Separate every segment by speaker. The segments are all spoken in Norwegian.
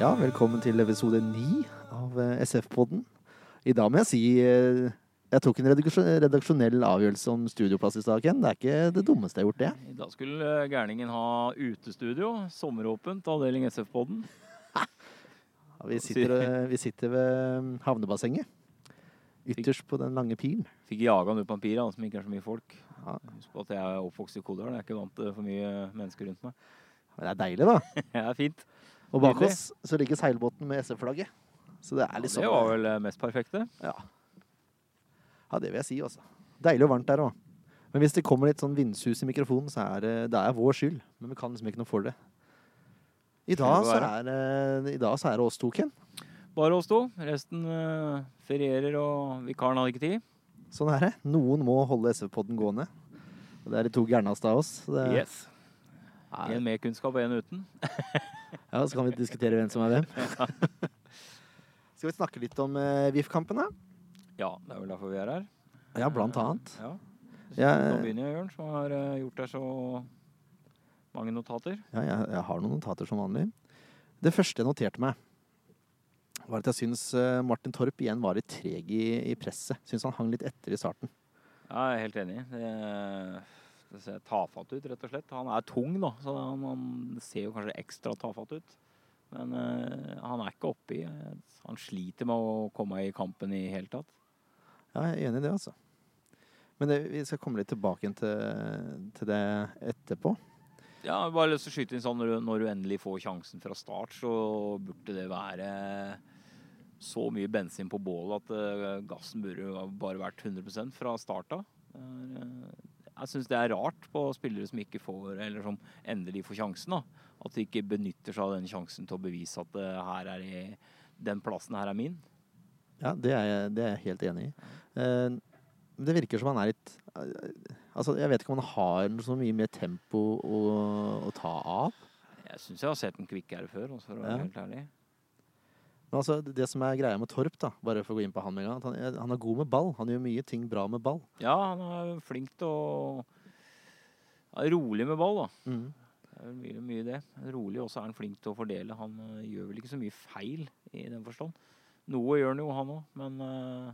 Speaker 1: Ja, velkommen til episode ni av eh, SF-podden. I dag må jeg si eh, jeg tok en redaksjon- redaksjonell avgjørelse om studioplass i stad, Ken. Det er ikke det dummeste jeg har gjort, det.
Speaker 2: I dag skulle eh, gærningen ha utestudio, sommeråpent, avdeling SF-podden.
Speaker 1: Ja, Vi sitter, eh, vi sitter ved mm, havnebassenget. Ytterst på den lange pilen.
Speaker 2: Fikk jaga han ut papiret, han som ikke er så mye folk.
Speaker 1: Ja.
Speaker 2: Husk på at jeg er oppvokst i Kodal, jeg er ikke vant til for mye mennesker rundt meg.
Speaker 1: Men det er deilig, da.
Speaker 2: Det er fint.
Speaker 1: Og bak
Speaker 2: Nydelig.
Speaker 1: oss så ligger seilbåten med SF-flagget. Så det er liksom
Speaker 2: Det var vel eh, mest perfekte.
Speaker 1: Ja. ja, det vil jeg si, altså. Deilig og varmt der òg. Men hvis det kommer litt sånn vindsus i mikrofonen, så er det, det er vår skyld. Men vi kan liksom ikke noe for det. I dag, så er, det- I dag så er det oss to, Ken.
Speaker 2: Bare oss to. Resten eh, ferierer, og vikaren hadde ikke tid.
Speaker 1: Sånn er det. Noen må holde SV-podden gående. Og det er de to gærneste av oss. så Det,
Speaker 2: Yes.
Speaker 1: er,
Speaker 2: En med kunnskap og en uten.
Speaker 1: ja, så kan vi diskutere hvem som er hvem. Skal vi snakke litt om eh, VIF-kampen, da?
Speaker 2: Ja, det er vel derfor vi er her.
Speaker 1: Ja, blant annet.
Speaker 2: Ja.
Speaker 1: Ja,
Speaker 2: Nå
Speaker 1: eh,
Speaker 2: begynner jeg, Jørn, som har eh, gjort deg så mange notater.
Speaker 1: Ja, jeg, jeg har noen notater som vanlig. Det første jeg noterte meg, var at jeg syns eh, Martin Torp igjen var litt treg i, i presset. Syns han hang litt etter i starten.
Speaker 2: Ja, jeg er helt enig. Det, det ser tafatt ut, rett og slett. Han er tung, da, så han, han ser jo kanskje ekstra tafatt ut. Men eh, han er ikke oppi. eh, Han sliter med å komme i kampen i hele tatt.
Speaker 1: Ja, jeg er enig i det, altså. Men det, vi skal komme litt tilbake igjen til, til det etterpå.
Speaker 2: Ja, jeg har bare lyst til å skyte inn sånn når du, når du endelig får sjansen fra start, så burde det være så mye bensin på bålet at eh, gassen burde jo bare vært 100 fra start av. Det er, eh, Jeg syns det er rart på spillere som ikke får, eller som endelig får sjansen, da. At de ikke benytter seg av den sjansen til å bevise at eh, her er jeg, den plassen her er min.
Speaker 1: Ja, det er jeg, det er jeg helt enig i. Eh, det virker som han er litt eh, Altså, jeg vet ikke om han har så mye mer tempo å, å ta av.
Speaker 2: Jeg syns jeg har sett den kvikkere før, også, for å være
Speaker 1: Ja.
Speaker 2: helt ærlig.
Speaker 1: Men altså, det som er greia med Torp, da, bare for å gå inn på han med en gang, at han, han er god med ball. Han gjør mye ting bra med ball.
Speaker 2: Ja, han er flink til å ja, Rolig med ball, da.
Speaker 1: Mm.
Speaker 2: Det er vel mye, mye det. Rolig også er han flink til å fordele. Han øh, gjør vel ikke så mye feil i den forstand. Noe gjør han jo, han òg, men øh,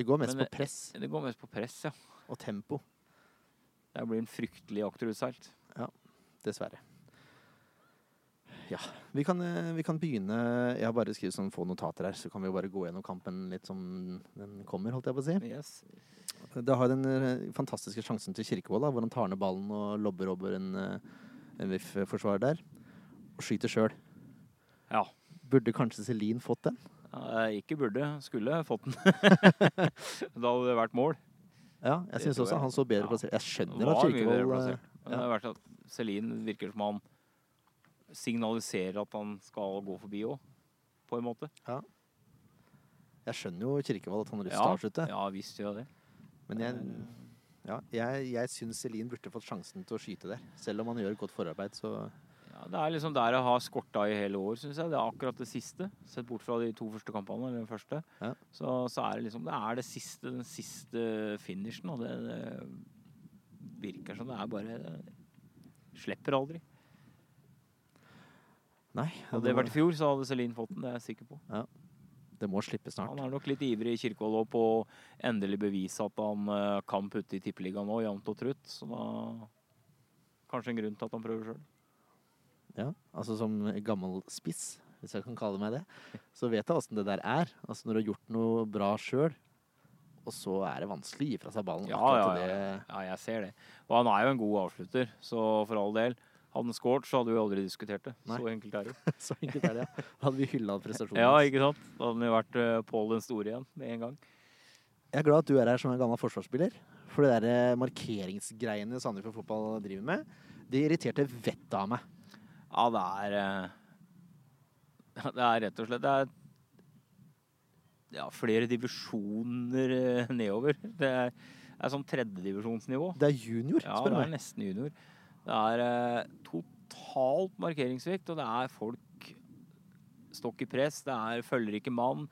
Speaker 1: Det går mest
Speaker 2: Men
Speaker 1: på press
Speaker 2: det går mest på press, ja.
Speaker 1: og tempo,
Speaker 2: Der blir han fryktelig akterutseilt.
Speaker 1: dessverre. Ja, vi kan, eh, vi kan begynne Jeg har bare skrevet sånn få notater her, så kan vi jo bare gå gjennom kampen litt som den kommer, holdt jeg på å si.
Speaker 2: Yes.
Speaker 1: Det har den eh, fantastiske sjansen til Kirkevold, da, hvor han tar ned ballen og lobber over en, eh, en VIF-forsvarer der. Og skyter sjøl.
Speaker 2: Ja.
Speaker 1: Burde kanskje Celine fått den?
Speaker 2: Eh, Ikke burde, skulle fått den. da hadde det vært mål.
Speaker 1: Ja, jeg
Speaker 2: Det
Speaker 1: syns
Speaker 2: tror
Speaker 1: også
Speaker 2: jeg.
Speaker 1: han så bedre
Speaker 2: Ja.
Speaker 1: plassert Jeg skjønner at
Speaker 2: Var mye bedre
Speaker 1: Kirkevold eh,
Speaker 2: plassert. Men det er verst at Celine virker som han signaliserer at han skal gå forbi òg, på en måte.
Speaker 1: Jeg skjønner jo Kirkevold at han har lyst til
Speaker 2: Ja.
Speaker 1: å avslutte,
Speaker 2: Ja visst gjør jeg det.
Speaker 1: men jeg
Speaker 2: Eh.
Speaker 1: Ja, jeg, jeg syns Celine burde fått sjansen til å skyte der. Selv om han gjør et godt forarbeid, så
Speaker 2: Ja, det er liksom der jeg har skorta i hele år, syns jeg. Det er akkurat det siste. Sett bort fra de to første kampene, eller den første.
Speaker 1: Ja.
Speaker 2: Så, så er det liksom Det er det siste, den siste finishen, og det, det virker som det er bare Slipper aldri.
Speaker 1: Nei.
Speaker 2: Hadde
Speaker 1: det,
Speaker 2: det vært i fjor, så hadde Celine fått den, det er jeg sikker på.
Speaker 1: må, det må slippe snart.
Speaker 2: Han er nok litt ivrig i Kirkehold òg på å endelig bevise at han eh, kan putte i tippeligaen nå, jevnt og trutt. Så da Kanskje en grunn til at han prøver sjøl.
Speaker 1: Ja, altså som gammel spiss, hvis jeg kan kalle meg det, så vet jeg åssen det der er. Altså når du har gjort noe bra sjøl, og så er det vanskelig å gi fra seg ballen.
Speaker 2: Ja,
Speaker 1: akkurat
Speaker 2: ja,
Speaker 1: til
Speaker 2: Ja, jeg ser det. Og han er jo en god avslutter, så for all del. Hadde han skåret, så hadde vi aldri diskutert det.
Speaker 1: Nei.
Speaker 2: Så enkelt er det.
Speaker 1: det. Så enkelt er det. ja. Da hadde vi hylla prestasjonen
Speaker 2: Ja,
Speaker 1: hans.
Speaker 2: ikke sant? Da hadde han jo vært uh, Pål den store igjen med en gang.
Speaker 1: Jeg er glad at du er her som en gammel forsvarsspiller. For det der eh, markeringsgreiene Sandefjord Fotball driver med, det irriterte vettet av meg.
Speaker 2: Ja, det er eh, Det er rett og slett det er ja, flere divisjoner eh, nedover. Det er, det er sånn tredjedivisjonsnivå.
Speaker 1: Det er junior,
Speaker 2: Ja,
Speaker 1: spør
Speaker 2: det
Speaker 1: du
Speaker 2: er
Speaker 1: meg.
Speaker 2: nesten junior. Det er eh, totalt markeringssvikt, og det er folk stokk i press. Det er følger ikke mann.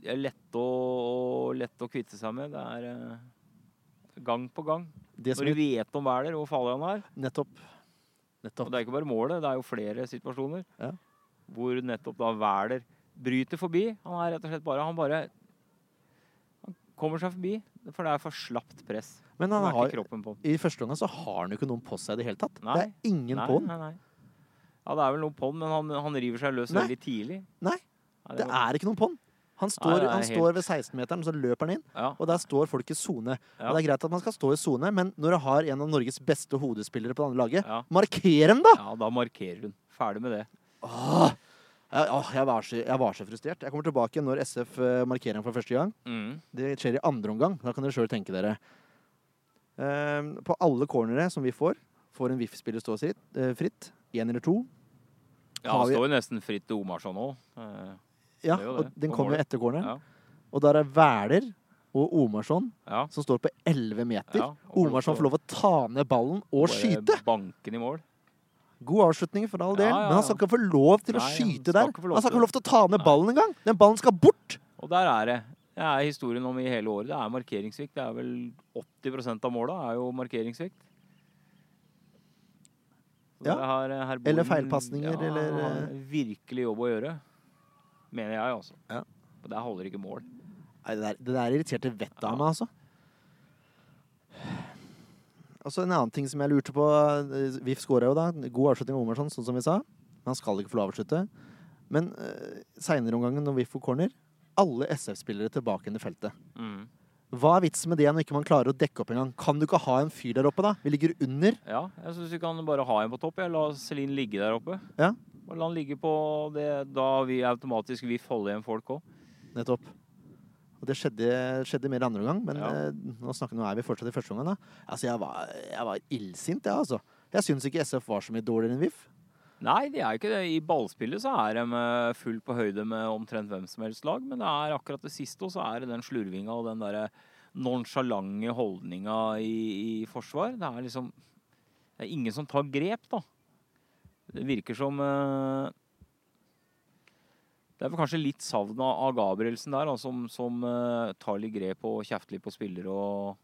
Speaker 2: Det er lett å, lett å kvitte seg med. Det er eh, gang på gang.
Speaker 1: Det som
Speaker 2: Når du vet om Wæler og hvor farlig han er.
Speaker 1: Nettopp.
Speaker 2: Og
Speaker 1: Nettopp.
Speaker 2: det er ikke bare målet, det er jo flere situasjoner.
Speaker 1: Ja.
Speaker 2: hvor nettopp da Wæler bryter forbi. Han er rett og slett bare Han bare han kommer seg forbi, for det er for slapt press.
Speaker 1: Men
Speaker 2: Han
Speaker 1: han
Speaker 2: har
Speaker 1: har,
Speaker 2: ikke kroppen på.
Speaker 1: i første omgang så har han jo ikke noen på seg i det hele tatt.
Speaker 2: Nei.
Speaker 1: Det er ingen
Speaker 2: Nei,
Speaker 1: på han.
Speaker 2: nei, nei. Ja, det er vel noe på den, men han, han river seg løs
Speaker 1: Nei.
Speaker 2: veldig tidlig.
Speaker 1: Nei,
Speaker 2: Ja,
Speaker 1: Det
Speaker 2: var-
Speaker 1: er ikke noen på han. Han
Speaker 2: Nei,
Speaker 1: står,
Speaker 2: det er
Speaker 1: han
Speaker 2: helt-
Speaker 1: står ved 16-meteren, så løper han inn,
Speaker 2: ja.
Speaker 1: og der står folk i sone.
Speaker 2: Ja.
Speaker 1: Og Det er greit at man skal stå i sone, men når du har en av Norges beste hodespillere på det andre laget,
Speaker 2: Ja.
Speaker 1: marker dem, da!
Speaker 2: ja, da markerer hun. Ferdig med det.
Speaker 1: Åh, jeg, åh, jeg, var så, jeg var så frustrert. Jeg kommer tilbake når SF eh, markerer ham for første gang.
Speaker 2: Mm.
Speaker 1: Det skjer i andre omgang. Da kan dere sjøl tenke dere. Ehm, på alle cornere som vi får, får en VIF-spiller stå sitt, eh, fritt. Én eller to.
Speaker 2: Ja,
Speaker 1: Har
Speaker 2: han
Speaker 1: vi-
Speaker 2: står jo nesten fritt til Omarsson òg. Eh,
Speaker 1: Ja,
Speaker 2: Det er jo
Speaker 1: og
Speaker 2: det,
Speaker 1: Den
Speaker 2: på
Speaker 1: kommer jo
Speaker 2: målet.
Speaker 1: etter corneren.
Speaker 2: Ja.
Speaker 1: Og der er Wæler og Omarsson
Speaker 2: Ja.
Speaker 1: som står på 11 meter.
Speaker 2: Ja, og får lov
Speaker 1: Omarsson
Speaker 2: til
Speaker 1: får lov å ta ned ballen og
Speaker 2: Bare
Speaker 1: skyte.
Speaker 2: Banken i mål.
Speaker 1: God avslutning for all del,
Speaker 2: Ja, ja,
Speaker 1: men han skal
Speaker 2: ja.
Speaker 1: ikke få lov til å
Speaker 2: Nei, han
Speaker 1: skyte
Speaker 2: skal
Speaker 1: der. Han
Speaker 2: ikke få lov
Speaker 1: skal ikke
Speaker 2: til
Speaker 1: få lov til å ta ned
Speaker 2: Nei.
Speaker 1: ballen engang! Den ballen skal bort!
Speaker 2: Og der er det. Det er historien om i hele året. Det er markeringssvikt. Det er vel 80 av måla er jo markeringssvikt. Så
Speaker 1: Ja.
Speaker 2: det har, eh, her bor
Speaker 1: Eller
Speaker 2: den-
Speaker 1: feilpasninger,
Speaker 2: ja,
Speaker 1: eller,
Speaker 2: han har
Speaker 1: eh,
Speaker 2: Virkelig jobb å gjøre. Mener jeg, altså.
Speaker 1: Ja.
Speaker 2: Og der holder ikke mål.
Speaker 1: Nei, det der, det der irriterte vettet av
Speaker 2: Ja.
Speaker 1: meg, altså. Og så en annen ting som jeg lurte på. eh, VIF skåra jo, da. God avslutning av Omarsson, sånn som vi sa. Men han skal ikke få lov å avslutte. Men uh, seinere omgangen, når VIF får corner, alle SF-spillere tilbake inn i feltet.
Speaker 2: Mm.
Speaker 1: Hva er vitsen med det når ikke man klarer å dekke opp engang? Kan du ikke ha en fyr der oppe, da? Vi ligger under.
Speaker 2: Ja, jeg syns vi kan bare ha en på topp. Jeg la Celine ligge der oppe.
Speaker 1: Ja.
Speaker 2: Og la han ligge på det da vi automatisk vil holde igjen folk òg.
Speaker 1: Nettopp. Og det skjedde, skjedde mer i andre omgang, men
Speaker 2: Ja.
Speaker 1: eh, nå, snakker, nå er vi fortsatt i første omgang. Da. Altså, jeg var, jeg var illsint, jeg, altså. Jeg syns ikke SF var så mye dårligere enn VIF.
Speaker 2: Nei, det er jo ikke det. I ballspillet så er de eh, fullt på høyde med omtrent hvem som helst lag, men det er akkurat det siste, og så er det den slurvinga og den derre nonsjalante holdninga i, i forsvar. Det er liksom Det er ingen som tar grep, da. Det virker som eh, Det er vel kanskje litt savn av av Gabrielsen der, da, som, som eh, tar litt grep og kjefter litt på spillere og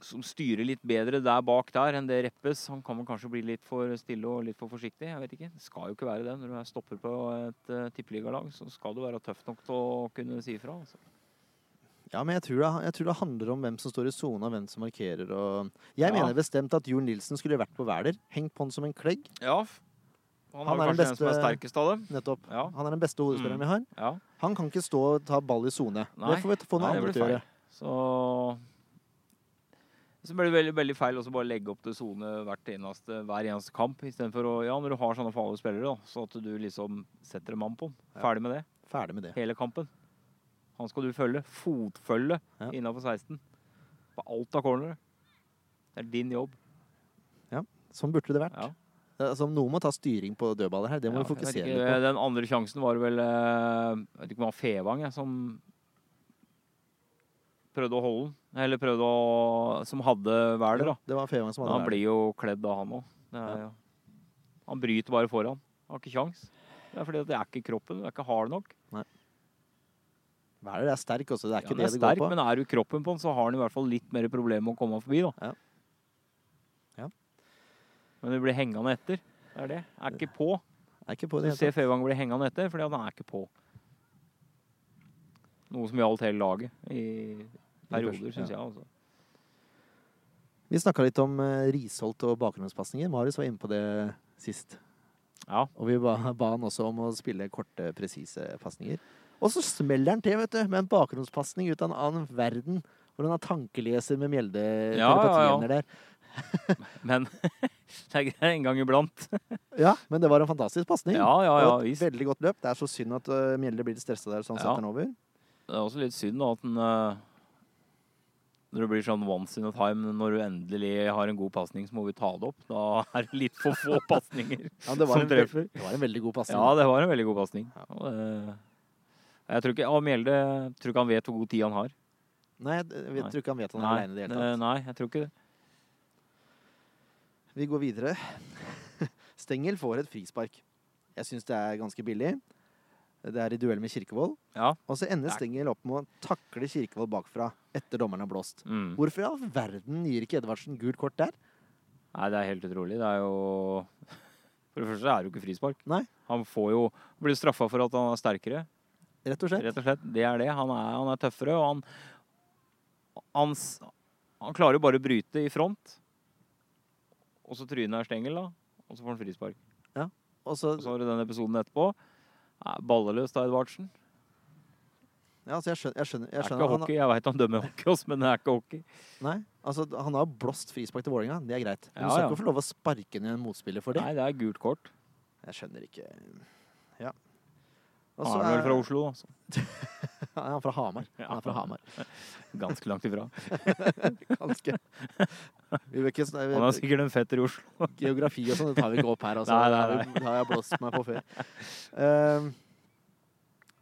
Speaker 2: som styrer litt bedre der bak der enn det Reppes. Han kan vel kanskje bli litt for stille og litt for forsiktig. jeg vet ikke. Det skal jo ikke være det. Når du er stopper på et uh, tippeligalag, så skal du være tøff nok til å kunne si ifra. Altså.
Speaker 1: Ja, men jeg tror, det, jeg tror det handler om hvem som står i sona, og hvem som markerer og Jeg
Speaker 2: Ja.
Speaker 1: mener bestemt at Jon Nilsen skulle vært på Hvæler. Hengt på han som en klegg.
Speaker 2: Ja, han,
Speaker 1: Han er
Speaker 2: har kanskje
Speaker 1: den
Speaker 2: den som er
Speaker 1: beste-
Speaker 2: sterkest av dem.
Speaker 1: Nettopp.
Speaker 2: Ja,
Speaker 1: Han er den beste hodespilleren vi har.
Speaker 2: ja.
Speaker 1: Han kan ikke stå og ta ball i sone. Det
Speaker 2: Nei.
Speaker 1: får vi få noen
Speaker 2: Nei, det
Speaker 1: andre
Speaker 2: blir
Speaker 1: til å gjøre.
Speaker 2: Så så blir det veldig, veldig feil å bare legge opp til sone hvert eneste, hver eneste kamp. Istedenfor å Ja, når du har sånne farlige spillere, da, så at du liksom setter en mann på den.
Speaker 1: Ja.
Speaker 2: Ferdig med det.
Speaker 1: Ferdig med det.
Speaker 2: hele kampen. Han skal du følge. Fotfølge
Speaker 1: Ja.
Speaker 2: Innenfor innafor 16. På alt av cornere. Det er din jobb.
Speaker 1: Sånn burde det vært.
Speaker 2: Ja.
Speaker 1: Altså, noen må ta styring på dødballer her. Det må
Speaker 2: Ja,
Speaker 1: vi
Speaker 2: jeg
Speaker 1: fokusere
Speaker 2: vet
Speaker 1: litt
Speaker 2: ikke,
Speaker 1: på.
Speaker 2: Den andre sjansen var vel eh, Jeg vet ikke om det var Fevang jeg, som prøvde å holde den. Eller prøvde å Som hadde Wæler, da.
Speaker 1: Det var Fevang som
Speaker 2: Men
Speaker 1: hadde
Speaker 2: han
Speaker 1: Hvæler.
Speaker 2: blir jo kledd av, han òg.
Speaker 1: Ja.
Speaker 2: Han bryter bare foran. Han har ikke kjangs. Det er fordi at det er ikke kroppen. Du er ikke hard nok.
Speaker 1: Hvaler er sterk også, det er
Speaker 2: Ja,
Speaker 1: ikke
Speaker 2: han
Speaker 1: det
Speaker 2: er
Speaker 1: det
Speaker 2: sterk,
Speaker 1: går på.
Speaker 2: men er du i kroppen på han, så har han i hvert fall litt mer problemer med å komme forbi, da.
Speaker 1: Ja. Ja.
Speaker 2: Men du blir hengende etter. Det er det. Er ikke på.
Speaker 1: Det er ikke på
Speaker 2: Du
Speaker 1: det hele
Speaker 2: ser Fevang bli hengende etter, fordi han er ikke på. Noe som gjaldt hele laget i perioder,
Speaker 1: første,
Speaker 2: syns
Speaker 1: ja.
Speaker 2: jeg. Altså.
Speaker 1: tatt. Vi snakka litt om eh, Risholt og bakgrunnspasninger. Marius var inne på det sist.
Speaker 2: Ja.
Speaker 1: Og vi ba, ba han også om å spille korte, presise pasninger. Og så smeller han til, vet du, med en bakgrunnspasning ut av en annen verden. Hvor han har tankeleser med mjelde
Speaker 2: Ja, ja, ja.
Speaker 1: telepatihender der.
Speaker 2: Men det er greit en gang iblant.
Speaker 1: Ja, men det var en fantastisk pasning.
Speaker 2: Ja, ja, ja,
Speaker 1: og et
Speaker 2: visst.
Speaker 1: veldig godt løp. Det er så synd at øh, Mjelde blir litt stressa der, så han
Speaker 2: Ja.
Speaker 1: setter den over.
Speaker 2: Det er også litt synd da, at den eh, Når det blir sånn once in a time, når du endelig har en god pasning, så må vi ta det opp. Da er det litt for få pasninger.
Speaker 1: Ja, det, var
Speaker 2: Som
Speaker 1: en, veld-
Speaker 2: treffer.
Speaker 1: det var en veldig god pasning.
Speaker 2: Ja, det var en veldig god pasning. Og det- Jeg tror ikke og Mjelde jeg tror ikke han vet hvor god tid han har.
Speaker 1: Nei, jeg, jeg,
Speaker 2: Nei.
Speaker 1: tror ikke han vet han er
Speaker 2: Nei,
Speaker 1: aleine i det hele
Speaker 2: eh,
Speaker 1: tatt.
Speaker 2: nei, jeg tror ikke det.
Speaker 1: Vi går videre. Stengel får et frispark. Jeg syns det er ganske billig. Det er i duell med Kirkevold.
Speaker 2: Ja.
Speaker 1: Og så ender
Speaker 2: Nei.
Speaker 1: Stengel opp med å takle Kirkevold bakfra etter dommeren har blåst.
Speaker 2: Mm.
Speaker 1: Hvorfor i all verden gir ikke Edvardsen gult kort der?
Speaker 2: Nei, det er helt utrolig. Det er jo For det første er det jo ikke frispark.
Speaker 1: Nei.
Speaker 2: Han får jo, han blir straffa for at han er sterkere.
Speaker 1: Rett og slett.
Speaker 2: Rett og slett. Det er det. Han er, han er tøffere, og han, han s- Han klarer jo bare å bryte i front. Og så tryner Stengel, da. Og så får han frispark.
Speaker 1: Og så,
Speaker 2: Og så har du den episoden etterpå. Nei, Balleløs av Edvardsen.
Speaker 1: ja, altså jeg skjønner, jeg skjønner,
Speaker 2: Det
Speaker 1: jeg
Speaker 2: er
Speaker 1: skjønner
Speaker 2: ikke
Speaker 1: han,
Speaker 2: hockey. Jeg veit han dømmer hockey, også, men det er ikke hockey.
Speaker 1: nei, altså, han har blåst frispark til Vålerenga, det er greit. Men
Speaker 2: Ja,
Speaker 1: du skal
Speaker 2: ja.
Speaker 1: ikke få lov å sparke ned en motspiller for det.
Speaker 2: Nei, det er gult kort.
Speaker 1: Jeg skjønner ikke Ja. Og
Speaker 2: Han
Speaker 1: så
Speaker 2: er vel
Speaker 1: er-
Speaker 2: fra Oslo, altså. da. så
Speaker 1: Ja, Han er fra Hamar. Han
Speaker 2: Ja.
Speaker 1: er fra Hamar.
Speaker 2: Ganske langt ifra.
Speaker 1: Ganske. Vi vil ikke snakke
Speaker 2: Han er sikkert en fetter i Oslo.
Speaker 1: Geografi og sånn, det tar vi ikke opp her. Altså.
Speaker 2: Nei, nei, nei.
Speaker 1: Det har jeg blåst meg på før. Ehm,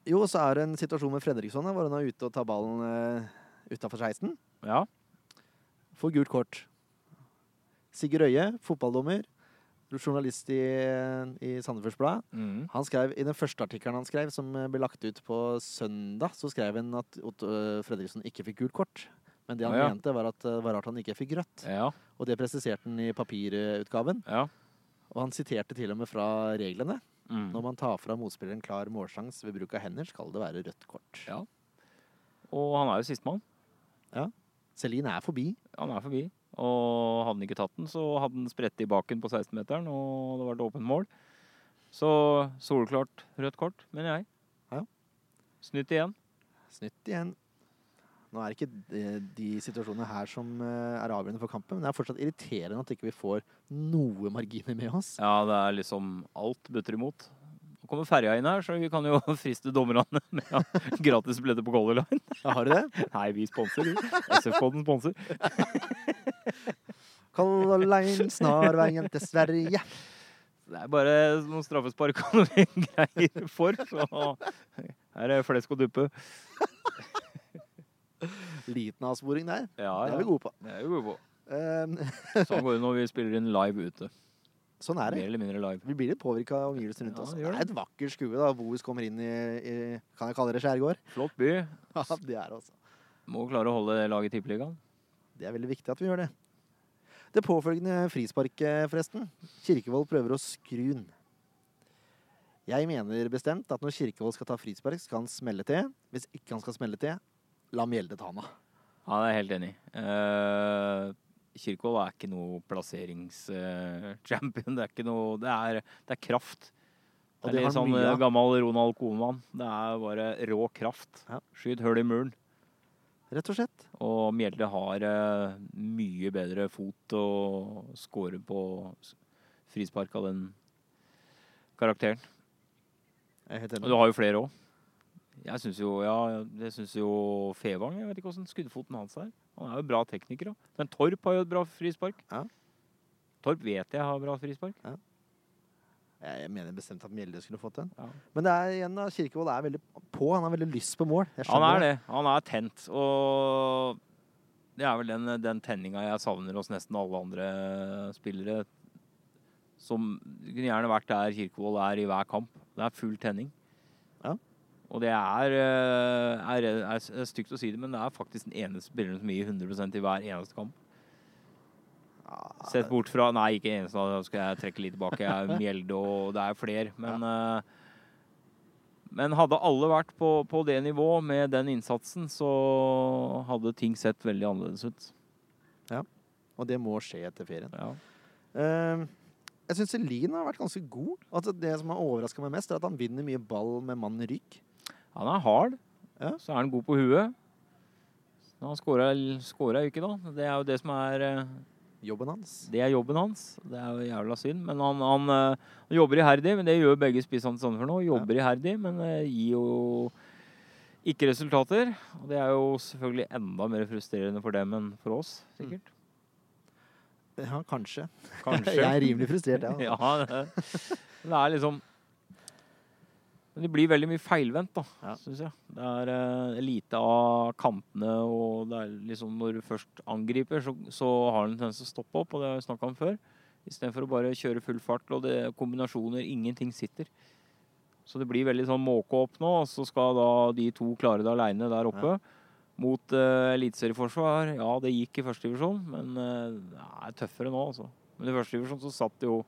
Speaker 1: jo, så er det en situasjon med Fredriksson. da, Hvor han er ute og tar ballen uh, utafor 16.
Speaker 2: Ja.
Speaker 1: Får gult kort. Sigurd Øie, fotballdommer, journalist i, i Sandefjords Blad.
Speaker 2: Mhm.
Speaker 1: Han skrev, I den første artikkelen han skrev, som eh, ble lagt ut på søndag, så skrev han at Otto eh, Fredriksson ikke fikk gult kort. Men det han
Speaker 2: Å, ja.
Speaker 1: mente, var at eh, det var rart han ikke fikk rødt.
Speaker 2: Ja.
Speaker 1: Og det presiserte han i papirutgaven.
Speaker 2: Ja.
Speaker 1: Og han siterte til og med fra reglene.
Speaker 2: Mhm.
Speaker 1: Når man tar fra motspilleren klar målsjanse ved bruk av hender, skal det være rødt kort.
Speaker 2: Ja. Og han er jo sistemann.
Speaker 1: Celine er forbi.
Speaker 2: Han er forbi. Og hadde han ikke tatt den, så hadde han spredt i baken på 16-meteren, og det var et åpent mål. Så solklart rødt kort, mener jeg.
Speaker 1: Ja.
Speaker 2: Snytt igjen.
Speaker 1: Snytt igjen. Nå er det ikke de, de situasjonene her som eh, er avgjørende for kampen, men det er fortsatt irriterende at ikke vi får noe marginer med oss.
Speaker 2: Ja, det er liksom alt butter imot. Nå kommer ferja inn her, så vi kan jo friste dommerne med ja, gratis billetter på Color Line.
Speaker 1: Ja, har du det?
Speaker 2: Nei, vi sponser, vi. SF-podden sponser.
Speaker 1: Color Line, snarveien til Sverige.
Speaker 2: Det er bare noen straffespark og noen greier for, så her er flesk og duppe.
Speaker 1: Liten avsporing der.
Speaker 2: Ja,
Speaker 1: Det er vi
Speaker 2: ja.
Speaker 1: gode på.
Speaker 2: Det er vi gode på.
Speaker 1: Eh,
Speaker 2: Sånn går det når vi spiller inn live ute.
Speaker 1: sånn er det.
Speaker 2: Mer eller mindre live.
Speaker 1: Vi blir litt påvirka av omgivelsene rundt
Speaker 2: Ja,
Speaker 1: oss.
Speaker 2: det
Speaker 1: Det
Speaker 2: gjør
Speaker 1: er et vakkert skue da Bohus kommer inn i, i kan jeg kalle det skjærgård?
Speaker 2: Flott by.
Speaker 1: Ja, det er det altså.
Speaker 2: Må klare å holde laget i Tippeligaen.
Speaker 1: Det er veldig viktig at vi gjør det. Det påfølgende frisparket, forresten. Kirkevold prøver å skru den. Jeg mener bestemt at når Kirkevold skal ta frispark, skal han smelle til. Hvis ikke han skal smelle til, la Mjelde ta han av.
Speaker 2: Ja, det er jeg helt enig i. Eh, Kirkvold er ikke noe plasseringschampion. det er ikke noe Det er, det er kraft.
Speaker 1: Og
Speaker 2: Det
Speaker 1: det
Speaker 2: er litt
Speaker 1: har han
Speaker 2: sånn
Speaker 1: mye
Speaker 2: eh,
Speaker 1: av.
Speaker 2: gammel Ronald Koeman. Det er bare rå kraft.
Speaker 1: Ja.
Speaker 2: Skyt hull i muren.
Speaker 1: Rett og slett.
Speaker 2: Og Mjelde har eh, mye bedre fot og scorer på s- frispark av den karakteren.
Speaker 1: Jeg er helt
Speaker 2: Og
Speaker 1: enig.
Speaker 2: du har jo flere òg. Jeg syns jo, ja, jeg synes jo Fevang Jeg vet ikke åssen skuddfoten hans er. Han er jo bra tekniker. Da. Men Torp har jo et bra frispark.
Speaker 1: Ja.
Speaker 2: Torp vet jeg har bra frispark.
Speaker 1: Jeg mener bestemt at Mjelde skulle fått den.
Speaker 2: Ja.
Speaker 1: Men det er igjen da, Kirkevold er veldig på. Han har veldig lyst på mål. Jeg
Speaker 2: Han
Speaker 1: skjønner
Speaker 2: er det. Han er tent. Og det er vel den, den tenninga jeg savner hos nesten alle andre spillere. Som kunne gjerne vært der Kirkevold er i hver kamp. Det er full tenning.
Speaker 1: Ja.
Speaker 2: Og det er, eh, er, er, er stygt å si det, men det er faktisk den eneste spilleren som gir 100 i hver eneste kamp.
Speaker 1: Ja,
Speaker 2: Sett bort fra Nei, ikke eneste, da skal jeg trekke litt tilbake. Jeg er Mjelde og det er flere. Men, eh, men hadde alle vært på, på det nivå med den innsatsen, så hadde ting sett veldig annerledes ut.
Speaker 1: Og det må skje etter ferien.
Speaker 2: Ja.
Speaker 1: Eh, jeg syns Celine har vært ganske god. Altså, det som har overraska meg mest, er at han vinner mye ball med mann i rygg.
Speaker 2: Han er hard,
Speaker 1: Ja.
Speaker 2: så er han god på huet. Men Han scora scora jo ikke, da. Det er jo det som er eh,
Speaker 1: Jobben hans.
Speaker 2: Det er jobben hans. Det er jo jævla synd. Men han, han, eh, han jobber iherdig, men det gjør begge spissene til Sandefjord nå. Jobber iherdig, men eh, gir jo ikke resultater. Og det er jo selvfølgelig enda mer frustrerende for dem enn for oss, sikkert.
Speaker 1: Mm. Ja, kanskje.
Speaker 2: Kanskje.
Speaker 1: Jeg er rimelig frustrert, jeg. altså.
Speaker 2: ja, det, men det er liksom Men det blir veldig mye feilvendt, da,
Speaker 1: Ja.
Speaker 2: syns jeg. Det er eh, lite av kantene, og det er liksom når du først angriper, så, så har han en tendens til å stoppe opp, og det har vi snakka om før. Istedenfor å bare kjøre full fart. Og det er kombinasjoner. Ingenting sitter. Så det blir veldig sånn måke opp nå, og så skal da de to klare det aleine der oppe. Mot uh, eliteserieforsvar. Ja, det gikk i første divisjon, men eh, det er tøffere nå, altså. Men i første divisjon så satt jo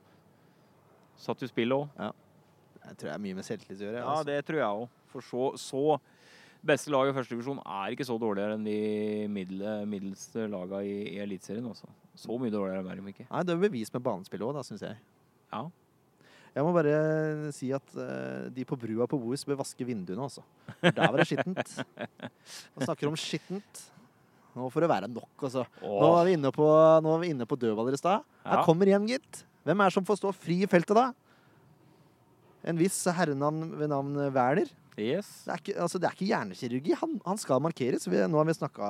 Speaker 2: Satt i spill òg.
Speaker 1: Jeg tror det er mye med selvtillit å gjøre. altså.
Speaker 2: Ja, altså. det tror jeg òg. For så, så Beste laget i førstedivisjon er ikke så dårligere enn de middel, middelste lagene i, i Eliteserien. også. Så mye dårligere er de ikke.
Speaker 1: Nei, det er bevis med banespill òg, da, syns jeg.
Speaker 2: Ja.
Speaker 1: Jeg må bare si at eh, de på brua på Bohus bør vaske vinduene, altså. For Der var det skittent. Man snakker om skittent. Nå får det være nok, altså. Nå var vi inne på, nå var vi inne på dødballer i stad. Her
Speaker 2: Ja.
Speaker 1: kommer igjen, gitt. Hvem er det som får stå fri i feltet, da? En viss herrenavn ved navn Werner.
Speaker 2: Yes.
Speaker 1: Det er ikke, altså, det er ikke hjernekirurgi. Han, han skal markeres. Vi, nå har vi snakka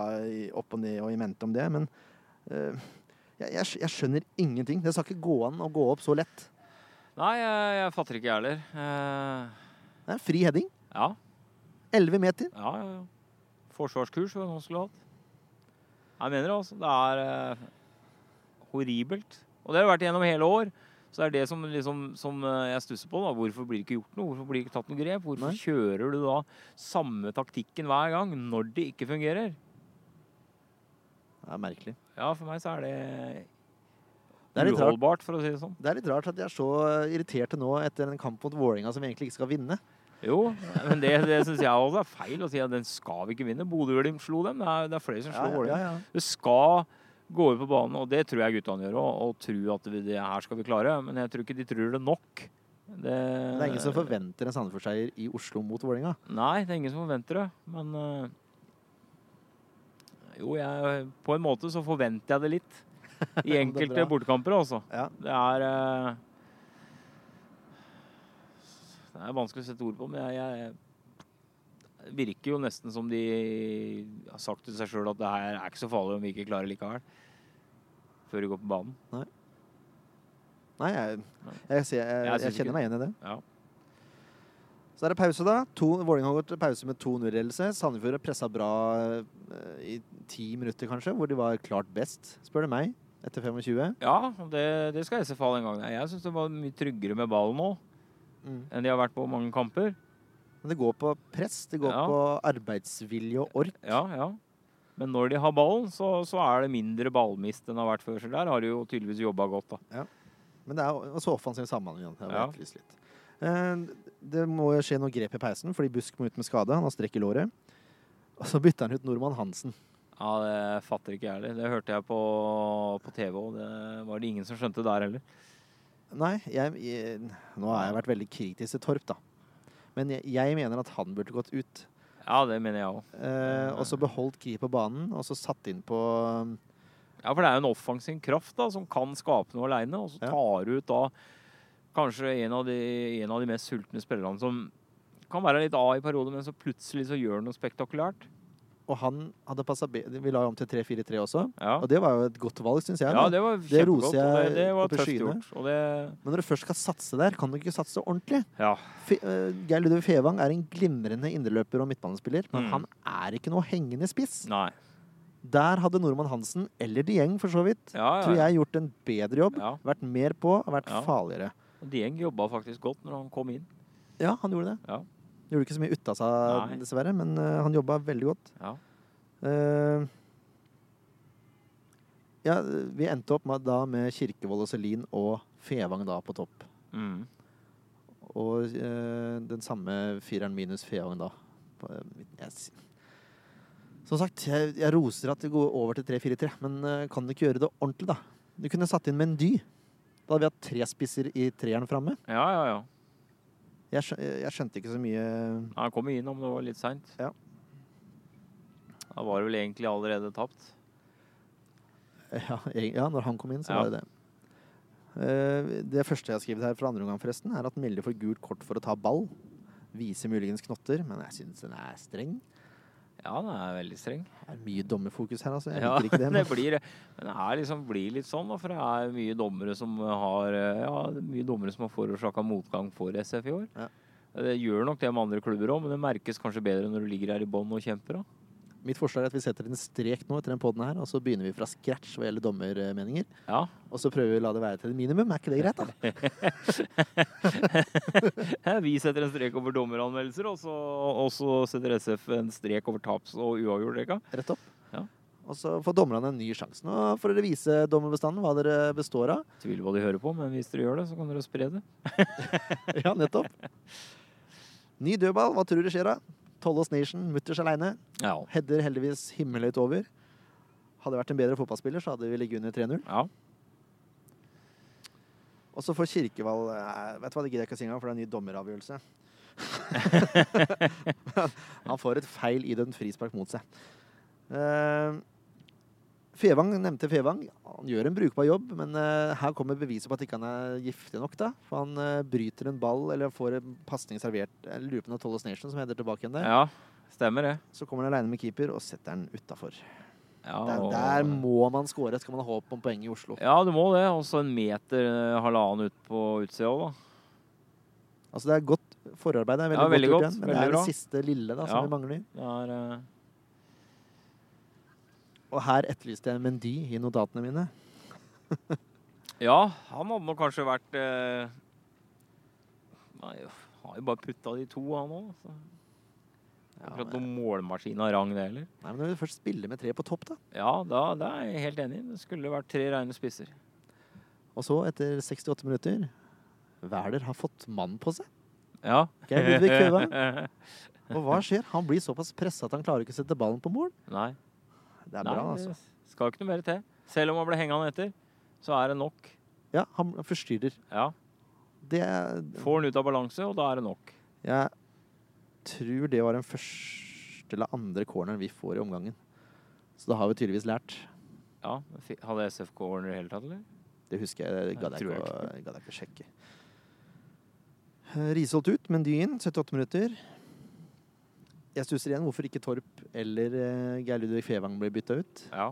Speaker 1: opp og ned og i mente om det, men eh, jeg, jeg, skj- jeg skjønner ingenting. Det skal ikke gå an å gå opp så lett.
Speaker 2: Nei, jeg, jeg fatter ikke, jeg heller. Eh,
Speaker 1: Det er en fri heading.
Speaker 2: ja,
Speaker 1: 11 meter.
Speaker 2: ja, ja. ja. Forsvarskurs var det han skulle hatt. Jeg mener det, altså. Det er eh, horribelt. Og det har det vært gjennom hele år. Så det er det som, liksom, som eh, jeg stusser på. da. Hvorfor blir det ikke gjort noe? Hvorfor blir det ikke tatt noe grep? Hvorfor
Speaker 1: Nei.
Speaker 2: kjører du da samme taktikken hver gang når det ikke fungerer?
Speaker 1: Det er merkelig.
Speaker 2: Ja, for meg så er det,
Speaker 1: Det er litt rart.
Speaker 2: uholdbart, for å si det sånn.
Speaker 1: Det er litt rart at de er så irriterte nå etter en kamp mot Vålerenga som vi egentlig ikke skal vinne.
Speaker 2: Jo, men det, det syns jeg også er feil å si at den skal vi ikke vinne. Bodø-Glimt slo dem. Det er, det er flere som slår Vålerenga. Det skal gå over på banen, og det tror jeg guttene gjør òg, og tro at vi- det her skal vi klare. Men jeg tror ikke de tror det nok. Det,
Speaker 1: Det er ingen som forventer en Sandefjord-seier i Oslo mot Vålerenga.
Speaker 2: Nei, det er ingen som forventer det. Men eh, jo, jeg, på en måte så forventer jeg det litt. I
Speaker 1: Ja, men det er
Speaker 2: enkelte
Speaker 1: bra.
Speaker 2: bortekamper, altså.
Speaker 1: Ja.
Speaker 2: Det er eh, Det er vanskelig å sette ord på, men jeg, jeg det virker jo nesten som de har sagt til seg sjøl at det her er ikke så farlig om vi ikke klarer likevel. Før vi går på banen.
Speaker 1: Nei, jeg, jeg, ser- jeg,
Speaker 2: Jeg
Speaker 1: jeg,
Speaker 2: synes ikke-
Speaker 1: kjenner meg igjen i det.
Speaker 2: Ja.
Speaker 1: Så er det pause, da. To- Vålerenga har gått til pause med 2-0-ledelse. Sandefjord har pressa bra eh, i ti minutter, kanskje, hvor de var klart best, spør du meg, etter 25.
Speaker 2: Ja, det, det skal SF ha den gangen. Jeg syns det var mye tryggere med ballen nå enn de har vært på mange kamper.
Speaker 1: Men det går på press, det går
Speaker 2: Ja.
Speaker 1: på arbeidsvilje og ork.
Speaker 2: Ja, ja. Men når de har ballen, så, så er det mindre ballmist enn det har vært før. Så der har de jo tydeligvis jobba godt, da.
Speaker 1: Men det er også offensiv samhandling. igjen. Det har vi
Speaker 2: Ja.
Speaker 1: etterlyst litt. Eh, Det må jo skje noe grep i peisen, fordi Busk må ut med skade. Han har strekk i låret. Og så bytter han ut Nordmann Hansen.
Speaker 2: Ja, Det fatter ikke jeg heller. Det hørte jeg på, på TV, og det var det ingen som skjønte der heller.
Speaker 1: Nei, jeg, jeg, nå har jeg vært veldig kritisk til Torp, da. Men jeg, jeg mener at han burde gått ut.
Speaker 2: Ja, det mener jeg òg.
Speaker 1: Eh, og så beholdt Kri på banen, og så satt inn på
Speaker 2: Ja, for det er jo en offensiv kraft da, som kan skape noe aleine, og så
Speaker 1: Ja.
Speaker 2: tar du ut da kanskje en av de, en av de mest sultne spillerne som kan være litt A i perioder, men så plutselig så gjør han noe spektakulært.
Speaker 1: Og han hadde passa bedre Vi la jo om til 3-4-3 også.
Speaker 2: Ja,
Speaker 1: Og det var jo et godt valg, syns jeg.
Speaker 2: ja
Speaker 1: da.
Speaker 2: det var
Speaker 1: Det roser
Speaker 2: kjempegodt. og Det,
Speaker 1: jeg
Speaker 2: det var
Speaker 1: opp i
Speaker 2: tøft
Speaker 1: skyene.
Speaker 2: gjort. Og det
Speaker 1: Men når du først skal satse der, kan du ikke satse ordentlig.
Speaker 2: Ja.
Speaker 1: Fe- eh, Geir Ludvig Fevang er en glimrende indreløper og midtbanespiller, men
Speaker 2: Mm.
Speaker 1: han er ikke noe hengende spiss.
Speaker 2: Nei.
Speaker 1: Der hadde Nordmann Hansen, eller Dieng for så vidt,
Speaker 2: Ja, ja.
Speaker 1: tror jeg gjort en bedre jobb.
Speaker 2: Ja.
Speaker 1: Vært mer på, og vært
Speaker 2: Ja.
Speaker 1: farligere.
Speaker 2: Dieng jobba faktisk godt når han kom inn.
Speaker 1: Ja, han gjorde det.
Speaker 2: Ja.
Speaker 1: Gjorde ikke så mye ut av seg,
Speaker 2: Nei.
Speaker 1: dessverre, men eh, han jobba veldig godt.
Speaker 2: Ja.
Speaker 1: Eh, ja, vi endte opp med, da med Kirkevold og Selin og Fevang da på topp.
Speaker 2: Mm.
Speaker 1: Og eh, den samme fireren minus Feong da. På, eh, midten. Jeg, s- som sagt, jeg, jeg roser at det går over til 3-4-3, men eh, kan du ikke gjøre det ordentlig, da? Du kunne satt inn Mendy. Da hadde vi hatt tre spisser i treeren framme.
Speaker 2: ja, ja, ja.
Speaker 1: Jeg, skjø- jeg skjønte ikke så mye
Speaker 2: Nei, Han kom inn om det var litt seint.
Speaker 1: Ja.
Speaker 2: Da var det vel egentlig allerede tapt.
Speaker 1: ja, eg- ja, når han kom inn, så
Speaker 2: Ja.
Speaker 1: var det det. Eh, det første jeg har skrevet her fra andre omgang, forresten, er at Melde får gult kort for å ta ball. Viser muligens knotter, men jeg syns den er streng.
Speaker 2: Ja, den er veldig streng.
Speaker 1: Det er mye dommerfokus her, altså. Jeg
Speaker 2: Ja,
Speaker 1: liker ikke det.
Speaker 2: det blir, men det er liksom, blir litt sånn, da, for det er mye dommere som har eh, ja, det er mye dommere som har forårsaka motgang for SF i år.
Speaker 1: Ja.
Speaker 2: Det gjør nok det med andre klubber òg, men det merkes kanskje bedre når du ligger her i bånn og kjemper. Da.
Speaker 1: Mitt forslag er at vi setter en strek nå etter den podden her, og så begynner vi fra scratch hva gjelder dommermeninger.
Speaker 2: Ja.
Speaker 1: Og så prøver vi å la det være til et minimum. Er ikke det greit, da?
Speaker 2: Vi setter en strek over dommeranmeldelser, og så, og så setter SF en strek over taps- og uavgjort-rekka.
Speaker 1: Rett opp.
Speaker 2: Ja.
Speaker 1: Og så får dommerne en ny sjanse. Nå får dere vise dommerbestanden hva dere består av.
Speaker 2: Tviler hva de hører på, men hvis dere gjør det, så kan dere spre det.
Speaker 1: Ja, nettopp. Ny dødball. Hva tror du skjer da? Tollås Nation, mutters aleine.
Speaker 2: Ja.
Speaker 1: Header heldigvis himmelhøyt over. Hadde vært en bedre fotballspiller, så hadde vi ligget under 3-0.
Speaker 2: ja.
Speaker 1: Og så får Kirkevall eh, Vet du hva, det gidder jeg ikke å si engang, for det er en ny dommeravgjørelse. Han får et feil idømt frispark mot seg. Eh, Fevang nevnte Fevang. Han gjør en brukbar jobb, men eh, her kommer beviset på at ikke han er giftig nok. da. For han eh, bryter en ball eller får en pasning servert. Jeg lurer på om det er Tollås Nation som header tilbake igjen der.
Speaker 2: ja. Stemmer det.
Speaker 1: Så kommer han aleine med keeper og setter den utafor.
Speaker 2: Ja,
Speaker 1: Der,
Speaker 2: og-
Speaker 1: der må man score, skal man ha håp om poeng i Oslo.
Speaker 2: ja, du må det. Og så en meter, eh, halvannen ut på utsida òg, da.
Speaker 1: Altså Det er godt forarbeid. Det er veldig,
Speaker 2: Ja, veldig
Speaker 1: godt,
Speaker 2: godt,
Speaker 1: gjort igjen, men det er
Speaker 2: veldig bra.
Speaker 1: det siste lille da, som
Speaker 2: Ja.
Speaker 1: vi mangler.
Speaker 2: Det er eh,
Speaker 1: Og her etterlyste jeg Mendy i notatene mine.
Speaker 2: Ja, han hadde nok kanskje vært eh, Nei, uff, har jo bare putta de to, han òg. så. Det er
Speaker 1: Ja,
Speaker 2: Akkurat
Speaker 1: men,
Speaker 2: noen målmaskin av rang, det heller.
Speaker 1: nei, men når vi først spiller med tre på topp, da
Speaker 2: Ja, da, det er jeg helt enig i. Det skulle vært tre reine spisser.
Speaker 1: Og så, etter 68 minutter Wæler har fått mann på seg.
Speaker 2: Ja.
Speaker 1: Geir Ludvig Føvang. Og hva skjer? Han blir såpass pressa at han klarer ikke å sette ballen på mål.
Speaker 2: Nei.
Speaker 1: Det er
Speaker 2: Nei,
Speaker 1: bra, altså.
Speaker 2: Det skal ikke noe mer til. Selv om han ble hengende etter, så er det nok.
Speaker 1: Ja, han forstyrrer.
Speaker 2: Ja.
Speaker 1: Det er-
Speaker 2: Får han ut av balanse, og da er det nok.
Speaker 1: Jeg tror det var den første eller andre corneren vi får i omgangen. Så da har vi tydeligvis lært.
Speaker 2: Ja, fi- Hadde SFK ordner i det hele tatt, eller?
Speaker 1: Det husker jeg. Det gadd jeg
Speaker 2: Jeg tror
Speaker 1: ikke, å- gadd jeg ikke å sjekke. Eh, Risholt ut, men Dyen, 78 minutter. Jeg stusser igjen hvorfor ikke Torp eller eh, Geir Ludvig Fevang ble bytta ut.
Speaker 2: Ja.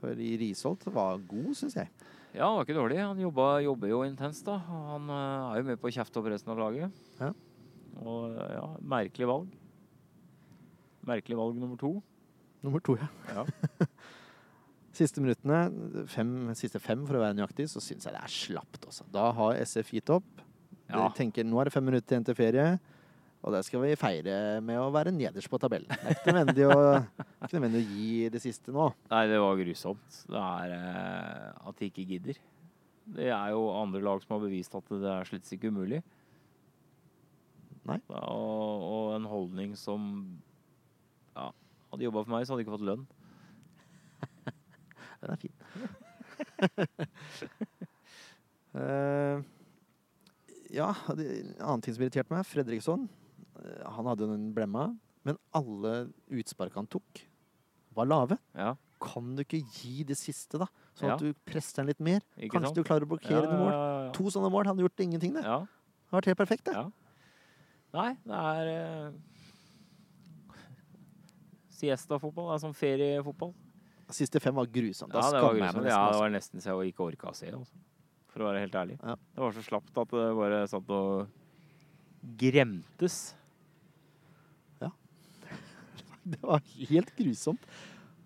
Speaker 1: For i Risholt var god, syns jeg.
Speaker 2: ja, han var ikke dårlig. Han jobba, jobber jo intenst, da. Og Han eh, er jo med på å kjefte opp resten av laget.
Speaker 1: Ja.
Speaker 2: Og eh, ja, merkelig valg. Merkelig valg nummer to.
Speaker 1: Nummer to, ja.
Speaker 2: Ja.
Speaker 1: Siste minuttene, fem, siste fem for å være nøyaktig, så syns jeg det er slapt også. Da har SF gitt opp.
Speaker 2: Ja.
Speaker 1: De tenker nå er det fem minutter igjen til ferie, og det skal vi feire med å være nederst på tabellen. Det er ikke nødvendig å, ikke nødvendig å gi det siste nå.
Speaker 2: Nei, det var grusomt. Det er eh, at de ikke gidder. Det er jo andre lag som har bevist at det er slett ikke umulig.
Speaker 1: Nei.
Speaker 2: Ja, Og, og en holdning som ja, Hadde jobba for meg, så hadde jeg ikke fått lønn.
Speaker 1: Den er fin. Eh, ja, det, en annen ting som irriterte meg, Fredriksson. eh, han hadde jo den blemma, men alle utspark han tok, var lave.
Speaker 2: Ja,
Speaker 1: Kan du ikke gi det siste, da? Sånn at
Speaker 2: Ja.
Speaker 1: du presser den litt mer?
Speaker 2: ikke
Speaker 1: Kanskje du klarer å blokkere noen mål?
Speaker 2: ja,
Speaker 1: To sånne mål hadde gjort ingenting, det.
Speaker 2: ja, ja.
Speaker 1: Det hadde vært helt perfekt, det.
Speaker 2: Ja. Nei, det er eh, Siesta-fotball det er som feriefotball.
Speaker 1: Siste fem var grusomt. Da
Speaker 2: ja, det var
Speaker 1: skammer jeg meg nesten.
Speaker 2: grusomt. Ja, det
Speaker 1: altså.
Speaker 2: var nesten så jeg ikke orka å se. Altså. For å være helt ærlig.
Speaker 1: Ja.
Speaker 2: Det var så slapt at det bare satt og gremtes.
Speaker 1: det var helt grusomt.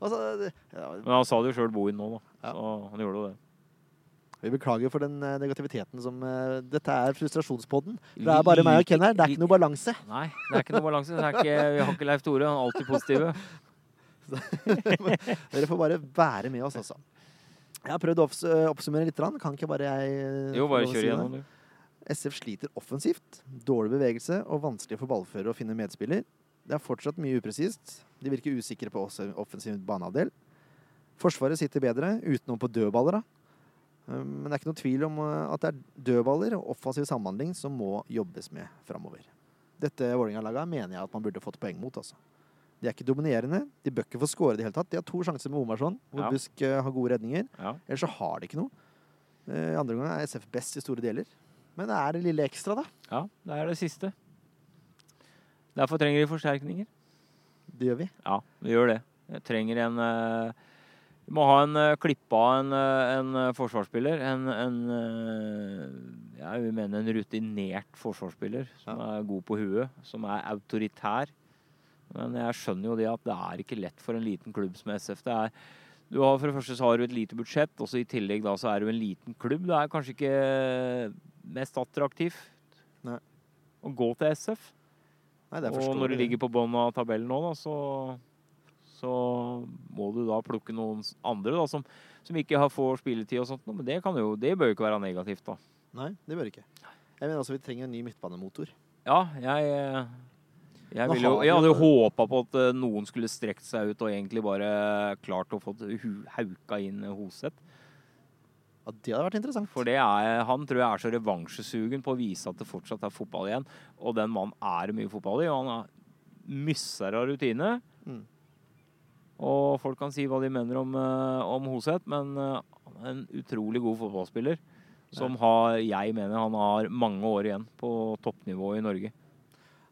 Speaker 1: Altså, det, ja,
Speaker 2: Men han sa det jo sjøl, Bohin, nå, da.
Speaker 1: Ja.
Speaker 2: Så han gjorde jo det.
Speaker 1: vi beklager for den eh, negativiteten som eh, Dette er frustrasjonspodden. Det er bare meg og Ken her. Det er ikke noe balanse.
Speaker 2: Nei, det er ikke noe balanse. Det er ikke, vi har ikke Leif Tore. Han er alltid positiv.
Speaker 1: Dere får bare være med oss, altså. Jeg har prøvd å obs- eh, oppsummere litt. grann. Kan ikke bare jeg eh,
Speaker 2: Jo,
Speaker 1: få
Speaker 2: bare
Speaker 1: lov å si
Speaker 2: kjør
Speaker 1: det?
Speaker 2: igjennom, du.
Speaker 1: SF sliter offensivt. Dårlig bevegelse og vanskelig for ballfører å finne medspiller. Det er fortsatt mye upresist. De virker usikre på oss- offensiv banehalvdel. Forsvaret sitter bedre, utenom på dødballer, da. Eh, Men det er ikke noe tvil om eh, at det er dødballer og offensiv samhandling som må jobbes med framover. Dette Vålerenga-laget mener jeg at man burde fått poeng mot, altså. De er ikke dominerende. De bør ikke få skåre i det hele tatt. De har to sjanser med Omarsson, hvor
Speaker 2: Ja.
Speaker 1: Busk eh, har gode redninger.
Speaker 2: Ja.
Speaker 1: Ellers så har de ikke noe. Eh, I andre omgang er SF best i store deler. Men det er det lille ekstra, da.
Speaker 2: ja, det er det siste. Derfor trenger de forsterkninger.
Speaker 1: Det gjør vi.
Speaker 2: Ja, vi gjør det. Jeg trenger en eh, Vi må ha en eh, klippe av en, eh, en eh, forsvarsspiller. En, en eh, Jeg vil mene en rutinert forsvarsspiller som er god på huet, som er autoritær. Men jeg skjønner jo det at det er ikke lett for en liten klubb som SF. Det er du har for det første så har du et lite budsjett, og så i tillegg da så er du en liten klubb. Det er kanskje ikke mest attraktivt
Speaker 1: Nei.
Speaker 2: å gå til SF.
Speaker 1: Nei, det
Speaker 2: Og når du ligger på bånn av tabellen nå, da, så, så så må du da plukke noen s- andre da, som, som ikke har får spilletid og sånt. nå, Men det, kan jo, det bør jo ikke være negativt, da.
Speaker 1: Nei, det bør ikke. Jeg mener altså, vi trenger en ny midtbanemotor.
Speaker 2: Ja, jeg eh, jeg,
Speaker 1: Nå
Speaker 2: ville jo,
Speaker 1: har vi
Speaker 2: jeg hadde
Speaker 1: jo-
Speaker 2: jo håpa på at eh, noen skulle strekt seg ut og egentlig bare klart å få hu- hauka inn Hoseth.
Speaker 1: Ja, det hadde vært interessant.
Speaker 2: For det er, han tror jeg er så revansjesugen på å vise at det fortsatt er fotball igjen. Og den mannen er det mye fotball i, og han er misser av rutine.
Speaker 1: Mm.
Speaker 2: Og folk kan si hva de mener om, eh, om Hoseth, men eh, han er en utrolig god fotballspiller. Som har, jeg mener han har mange år igjen på toppnivå i Norge.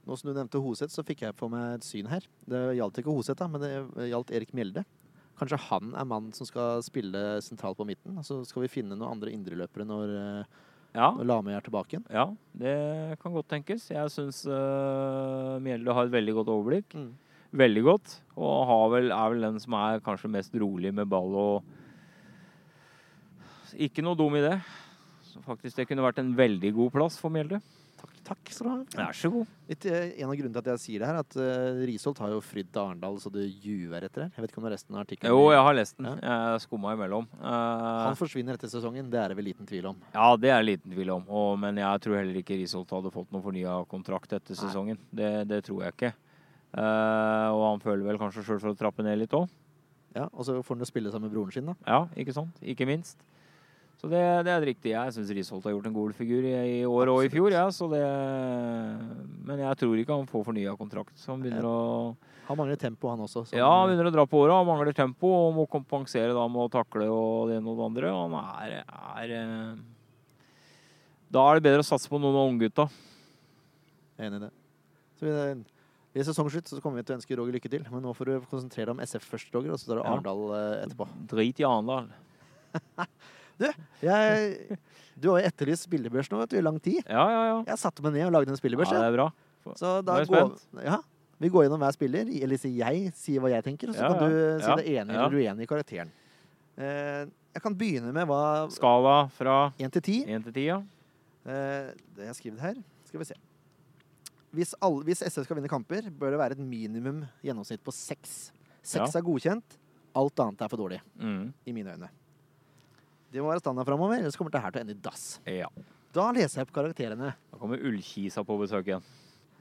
Speaker 1: Nå som du nevnte Hoseth, så fikk jeg på meg et syn her. Det gjaldt ikke Hoseth, da, men det gjaldt Erik Mjelde. Kanskje han er mannen som skal spille sentralt på midten. og Så skal vi finne noen andre indreløpere når, eh,
Speaker 2: Ja,
Speaker 1: når Lamøy er tilbake igjen.
Speaker 2: ja det kan godt tenkes. Jeg syns eh, Mjelde har et veldig godt overblikk. veldig godt. Og har vel, er vel den som er kanskje mest rolig med ball og Ikke noe dum idé. Så faktisk det kunne vært en veldig god plass for Mjelde.
Speaker 1: Takk, takk skal du ha.
Speaker 2: Vær så god.
Speaker 1: Litt, eh, en av grunnene til at jeg sier det her, er at eh, Risholt har jo fridd til Arendal så det ljuver etter her. Jeg vet ikke om det er resten av artikkelen.
Speaker 2: Jo, jeg har lest den. Jeg skumma imellom. Eh,
Speaker 1: Han forsvinner etter sesongen, det er det vel liten tvil om.
Speaker 2: ja, det er liten tvil om. Og, men jeg tror heller ikke Risholt hadde fått noen fornya kontrakt etter sesongen. Det, det tror jeg ikke. Eh, og han føler vel kanskje sjøl for å trappe ned litt òg.
Speaker 1: Ja, Og så får han jo spille sammen med broren sin, da.
Speaker 2: Ja, ikke sant? Ikke minst. Så det, det er riktig. Jeg syns Risholt har gjort en god figur i, i år og i
Speaker 1: Absolutt.
Speaker 2: fjor. Ja, så det, men jeg tror ikke han får fornya kontrakt. Så han begynner å,
Speaker 1: Han mangler tempo, han også. så-
Speaker 2: ja, han begynner å dra på åra. Han mangler tempo og må kompensere da med å takle og det ene og det andre. Og han er, er eh, Da er det bedre å satse på noen av unggutta.
Speaker 1: Jeg er enig i det. Så vi, eh, ved sesongslutt så kommer vi til å ønske Roger lykke til, men nå får du konsentrere deg om SF først, Roger, og så tar du
Speaker 2: Ja.
Speaker 1: Arendal eh, etterpå.
Speaker 2: Drit i Arendal.
Speaker 1: Jeg, du har jo etterlyst spillebørs nå, vet du, i lang tid.
Speaker 2: Ja, ja, ja.
Speaker 1: Jeg satte meg ned og lagde en
Speaker 2: ja.
Speaker 1: spillebørs.
Speaker 2: Det
Speaker 1: jeg.
Speaker 2: er bra.
Speaker 1: Så da
Speaker 2: Nå er jeg
Speaker 1: går, ja, vi går gjennom hver spiller, eller si jeg sier hva jeg tenker, og så
Speaker 2: Ja,
Speaker 1: kan du
Speaker 2: ja.
Speaker 1: si
Speaker 2: Ja,
Speaker 1: deg enig
Speaker 2: ja.
Speaker 1: eller uenig i karakteren. Eh, jeg kan begynne med hva
Speaker 2: Skala fra
Speaker 1: 1 til 10.
Speaker 2: én til ti, ja.
Speaker 1: Eh, det jeg har skrevet her, skal vi se. Hvis, alle, hvis SF skal vinne kamper, bør det være et minimum gjennomsnitt på seks. Seks
Speaker 2: Ja.
Speaker 1: er godkjent, alt annet er for dårlig,
Speaker 2: Mm.
Speaker 1: i mine øyne. Det må være standard framover, ellers kommer det her til å ende i dass.
Speaker 2: Ja.
Speaker 1: Da leser jeg opp karakterene.
Speaker 2: Da kommer Ullkisa på besøk igjen.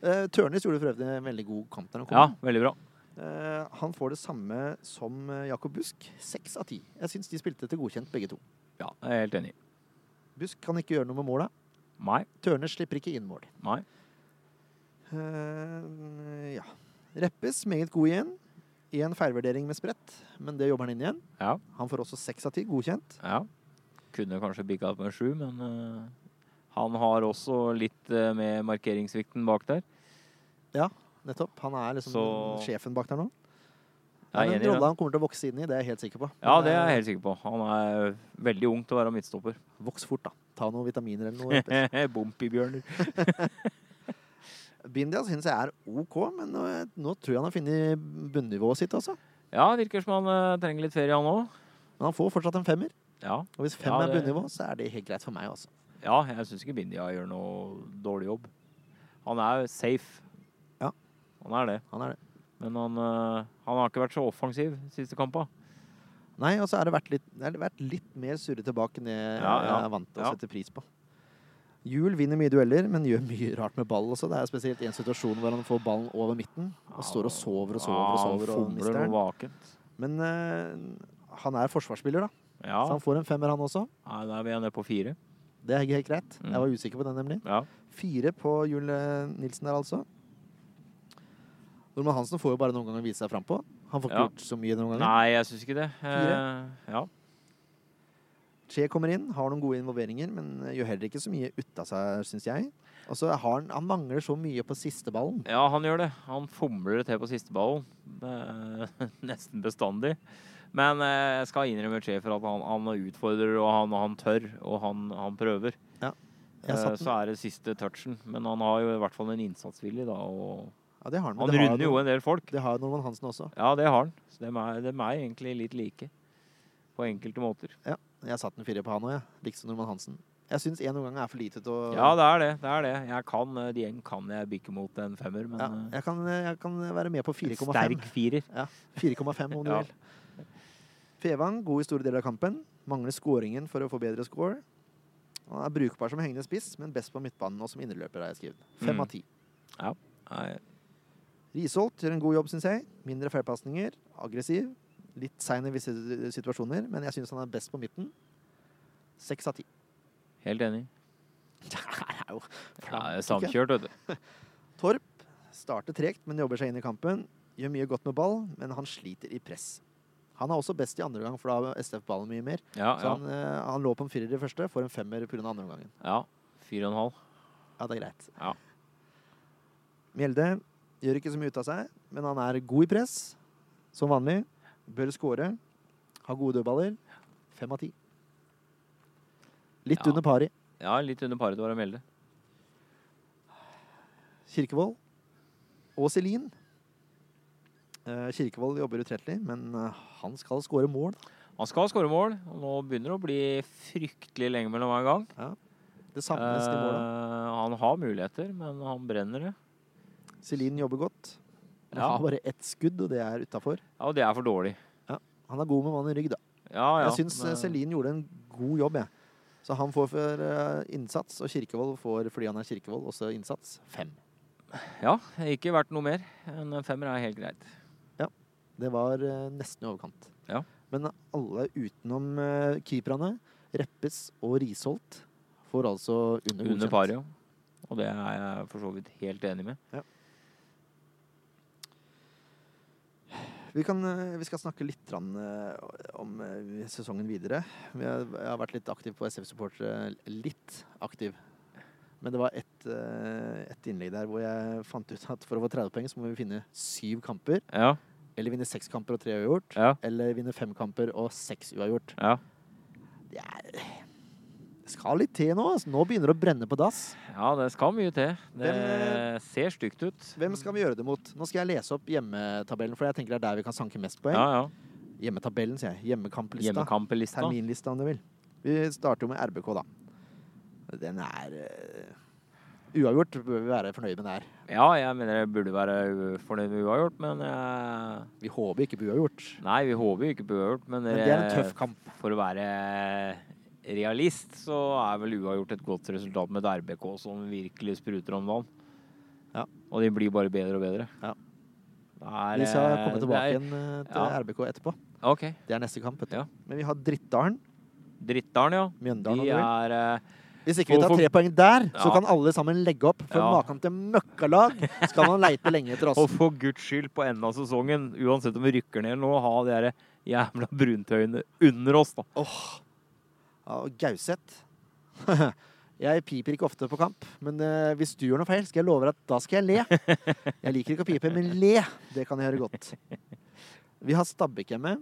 Speaker 1: Eh, Tørnes gjorde for øvrig en veldig god kamp. Der han kom.
Speaker 2: Ja, veldig bra.
Speaker 1: Eh, han får det samme som eh, Jakob Busk. Seks av ti. Jeg syns de spilte til godkjent, begge to.
Speaker 2: Ja, jeg er helt enig.
Speaker 1: Busk kan ikke gjøre noe med måla.
Speaker 2: Nei.
Speaker 1: Tørnes slipper ikke inn mål.
Speaker 2: Nei.
Speaker 1: Eh, ja. Reppes, meget god igjen. Én feilvurdering med sprett, men det jobber han inn igjen.
Speaker 2: Ja.
Speaker 1: Han får også seks av ti, godkjent.
Speaker 2: ja. Kunne kanskje bikka opp med sju, men eh, han har også litt eh, med markeringssvikten bak der.
Speaker 1: Nettopp. Han er liksom
Speaker 2: Så-
Speaker 1: sjefen bak der nå. Det
Speaker 2: Jeg
Speaker 1: er
Speaker 2: er
Speaker 1: en
Speaker 2: enig i
Speaker 1: rolle
Speaker 2: det.
Speaker 1: han kommer til å vokse inn i, det er jeg helt sikker på.
Speaker 2: Ja,
Speaker 1: Men,
Speaker 2: det er
Speaker 1: eh,
Speaker 2: jeg helt sikker på. Han er veldig ung til å være midtstopper.
Speaker 1: Voks fort, da. Ta noen vitaminer eller noe. Reppes.
Speaker 2: Bompibjørner.
Speaker 1: Bindia syns jeg er OK, men nå, nå tror jeg han har funnet bunnivået sitt, altså.
Speaker 2: Ja, virker som han eh, trenger litt ferie, han òg.
Speaker 1: Men han får fortsatt en femmer.
Speaker 2: Ja.
Speaker 1: Og hvis fem
Speaker 2: Ja,
Speaker 1: er
Speaker 2: det-
Speaker 1: bunnivå, så er det helt greit for meg altså. også.
Speaker 2: ja, jeg syns ikke Bindia gjør noe dårlig jobb. Han er safe.
Speaker 1: Ja.
Speaker 2: Han er det.
Speaker 1: Han er det.
Speaker 2: Men han, eh, han har ikke vært så offensiv siste kampa.
Speaker 1: Nei, og så har det vært litt, det har vært litt mer surrete bak enn jeg
Speaker 2: Ja, ja.
Speaker 1: jeg er vant til å
Speaker 2: Ja.
Speaker 1: sette pris på. Juel vinner mye dueller, men gjør mye rart med ball også. Det er spesielt en situasjon hvor han får ballen over midten og står og sover og sover og sover og mister
Speaker 2: Ja, han fomler
Speaker 1: den.
Speaker 2: noe vakent.
Speaker 1: Men eh, han er forsvarsspiller, da.
Speaker 2: Ja.
Speaker 1: Så han får en femmer, han også.
Speaker 2: Nei, da er vi nede på fire.
Speaker 1: Det er helt greit.
Speaker 2: Mm.
Speaker 1: Jeg var usikker på den, nemlig.
Speaker 2: Ja.
Speaker 1: Fire på Juel eh, Nilsen der, altså. Norman Hansen får jo bare noen ganger vise seg frampå. Han får ikke
Speaker 2: Ja.
Speaker 1: gjort så mye noen ganger.
Speaker 2: Nei, jeg syns ikke det.
Speaker 1: Fire?
Speaker 2: Eh, ja.
Speaker 1: Che kommer inn, har noen gode involveringer, men eh, gjør heller ikke så mye ut av seg, syns jeg. Og så har han, han mangler så mye på siste ballen.
Speaker 2: ja, han gjør det. Han fomler det til på siste ballen. Eh, Nesten bestandig. Men eh, jeg skal innrømme Che for at han, han utfordrer, og han, han tør, og han, han prøver.
Speaker 1: Ja. Jeg
Speaker 2: Eh,
Speaker 1: satt den.
Speaker 2: Så er det siste touchen. Men han har jo i hvert fall en innsatsvilje, da. Og
Speaker 1: Ja, det har han. men
Speaker 2: han
Speaker 1: det har
Speaker 2: runder jo en del folk.
Speaker 1: Det har Norman Hansen også.
Speaker 2: Ja, det har han. Så dem er, dem er egentlig litt like. På enkelte måter.
Speaker 1: Jeg satte en firer på han òg, jeg. Liksom Norman Hansen. Jeg syns én omgang er for lite til å
Speaker 2: Ja, det er det. det er det. Jeg kan, eh, de gjeng kan jeg bikke mot en femmer, men
Speaker 1: Ja,
Speaker 2: eh,
Speaker 1: jeg, kan, jeg kan være med på
Speaker 2: en
Speaker 1: 4,5.
Speaker 2: sterk firer.
Speaker 1: 4,5 om du
Speaker 2: Ja.
Speaker 1: vil. Fevang god i store deler av kampen. Mangler skåringen for å få bedre score. Han er brukbar som hengende spiss, men best på midtbanen og som indreløper. har jeg skrevet. Fem
Speaker 2: Mm.
Speaker 1: av ti.
Speaker 2: Nei,
Speaker 1: Risholt gjør en god jobb, syns jeg. Mindre feilpasninger. Aggressiv. Litt sein i visse situasjoner, men jeg syns han er best på midten. Seks av ti.
Speaker 2: helt enig.
Speaker 1: Det her er jo
Speaker 2: Ja,
Speaker 1: flammende, ikke?
Speaker 2: samkjørt, vet du.
Speaker 1: Torp starter tregt, men jobber seg inn i kampen. Gjør mye godt med ball, men han sliter i press. Han er også best i andre gang, for da har SF ballen mye mer.
Speaker 2: Ja,
Speaker 1: Så
Speaker 2: ja.
Speaker 1: han, eh, han lå på en firer i første, får en femmer pga. andre omgangen.
Speaker 2: ja. Fire og en halv.
Speaker 1: Ja, det er greit.
Speaker 2: Ja.
Speaker 1: Mjelde gjør ikke så mye ut av seg, men han er god i press, som vanlig. Bør skåre. Har gode dødballer. Fem av ti. Litt
Speaker 2: Ja.
Speaker 1: under pari.
Speaker 2: Ja, litt under paret var å melde.
Speaker 1: Kirkevold og Celine. Eh, Kirkevold jobber utrettelig, men eh, han skal skåre mål.
Speaker 2: Han skal skåre mål, og nå begynner det å bli fryktelig lenge mellom hver gang.
Speaker 1: Det savnes i målet.
Speaker 2: Eh, han har muligheter, men han brenner det.
Speaker 1: Celine jobber godt. Han
Speaker 2: Ja.
Speaker 1: har bare ett skudd, og det er utafor.
Speaker 2: Ja, og det er for dårlig.
Speaker 1: Han er god med mannen i rygg, da.
Speaker 2: Ja, ja.
Speaker 1: jeg syns eh,
Speaker 2: men- eh,
Speaker 1: Celine gjorde en god jobb, jeg. Så han får for eh, innsats, og Kirkevold får, fordi han er Kirkevold, også innsats. Fem.
Speaker 2: Ja, ikke verdt noe mer. En femmer er helt greit.
Speaker 1: Det var eh, nesten i overkant.
Speaker 2: Ja.
Speaker 1: Men alle utenom eh, keeperne, Reppes og Risholt, får altså under
Speaker 2: Under
Speaker 1: godkjent.
Speaker 2: paret, ja. Og det er jeg for så vidt helt enig med.
Speaker 1: Vi, kan, eh, vi skal snakke litt grann, eh, om eh, sesongen videre. Vi har- Jeg har vært litt aktiv på SF-supportere. Litt aktiv. Men det var ett eh, ett innlegg der hvor jeg fant ut at for å få 30 poeng, så må vi finne syv kamper.
Speaker 2: Ja,
Speaker 1: Eller vinne seks kamper og tre uavgjort.
Speaker 2: ja,
Speaker 1: Eller vinne fem kamper og seks uavgjort.
Speaker 2: ja.
Speaker 1: Det er det skal litt til nå. Altså. Nå begynner det å brenne på dass.
Speaker 2: Ja, det skal mye til. Det
Speaker 1: Hvem, eh,
Speaker 2: ser stygt ut.
Speaker 1: Hvem skal vi gjøre det mot? Nå skal jeg lese opp hjemmetabellen, for jeg tenker det er der vi kan sanke mest poeng.
Speaker 2: Ja, ja.
Speaker 1: Hjemmetabellen, sier jeg. Hjemmekamplista.
Speaker 2: Hjemmekampelista.
Speaker 1: terminlista om du vil. Vi starter jo med RBK, da. Den er eh, Uavgjort bør vi være fornøyd med den her.
Speaker 2: Ja, jeg mener jeg burde være u- fornøyd med uavgjort, men eh,
Speaker 1: Vi håper ikke på uavgjort.
Speaker 2: Nei, vi håper jo ikke på uavgjort, men,
Speaker 1: Men det er en
Speaker 2: eh,
Speaker 1: tøff kamp.
Speaker 2: for å være realist, så er vel uavgjort et godt resultat med et RBK som virkelig spruter om dagen.
Speaker 1: Ja.
Speaker 2: Og de blir bare bedre og bedre.
Speaker 1: Ja.
Speaker 2: Det er,
Speaker 1: Vi skal
Speaker 2: eh,
Speaker 1: komme
Speaker 2: det
Speaker 1: tilbake
Speaker 2: er-
Speaker 1: igjen eh, til
Speaker 2: ja.
Speaker 1: RBK etterpå.
Speaker 2: OK.
Speaker 1: Det er neste kamp. Vet du.
Speaker 2: Ja.
Speaker 1: Men vi har Drittdalen,
Speaker 2: Drittdalen, ja.
Speaker 1: Mjøndalen
Speaker 2: De
Speaker 1: og Nord.
Speaker 2: er eh,
Speaker 1: Hvis ikke vi tar
Speaker 2: Hvorfor-
Speaker 1: tre poeng der, så
Speaker 2: Ja.
Speaker 1: kan alle sammen legge opp. For
Speaker 2: Ja.
Speaker 1: maken til møkkalag skal man leite lenge etter
Speaker 2: Og
Speaker 1: oss.
Speaker 2: for guds skyld, på enden av sesongen, uansett om vi rykker ned eller noe, ha de der jævla bruntøyene under oss, da.
Speaker 1: Ja, og Gauseth Jeg piper ikke ofte på kamp, men eh, hvis du gjør noe feil, skal jeg love deg at da skal jeg le. Jeg liker ikke å pipe, men le, det kan jeg gjøre godt. Vi har Stabæk hjemme.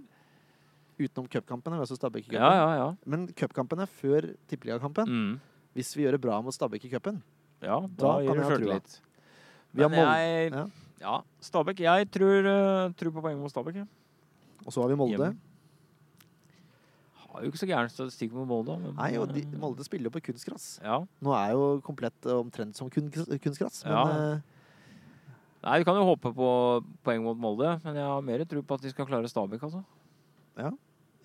Speaker 1: Utenom cupkampene. Vi har også Stabæk i cupen.
Speaker 2: Ja, ja, ja.
Speaker 1: Men cupkampene før tippeligakampen.
Speaker 2: Mm.
Speaker 1: Hvis vi gjør det bra mot Stabæk i cupen
Speaker 2: Ja, da,
Speaker 1: Da kan
Speaker 2: gir du
Speaker 1: jeg ha trua.
Speaker 2: sjøltillit.
Speaker 1: Vi har
Speaker 2: Men
Speaker 1: Molde,
Speaker 2: jeg
Speaker 1: ja.
Speaker 2: Ja, Stabæk. Jeg tror, eh, tror på poenget mot Stabæk. jeg.
Speaker 1: Og så har vi Molde.
Speaker 2: Hjemme. Har jo ikke så gæren statistikk mot Molde. Men,
Speaker 1: Nei, og de,
Speaker 2: eh,
Speaker 1: Molde spiller jo på kunstgras.
Speaker 2: ja.
Speaker 1: Nå er jo komplett omtrent som kun- kunstgras, men
Speaker 2: Ja.
Speaker 1: eh,
Speaker 2: Nei, vi kan jo håpe på poeng mot Molde, men jeg har mer tro på at de skal klare Stabæk, altså.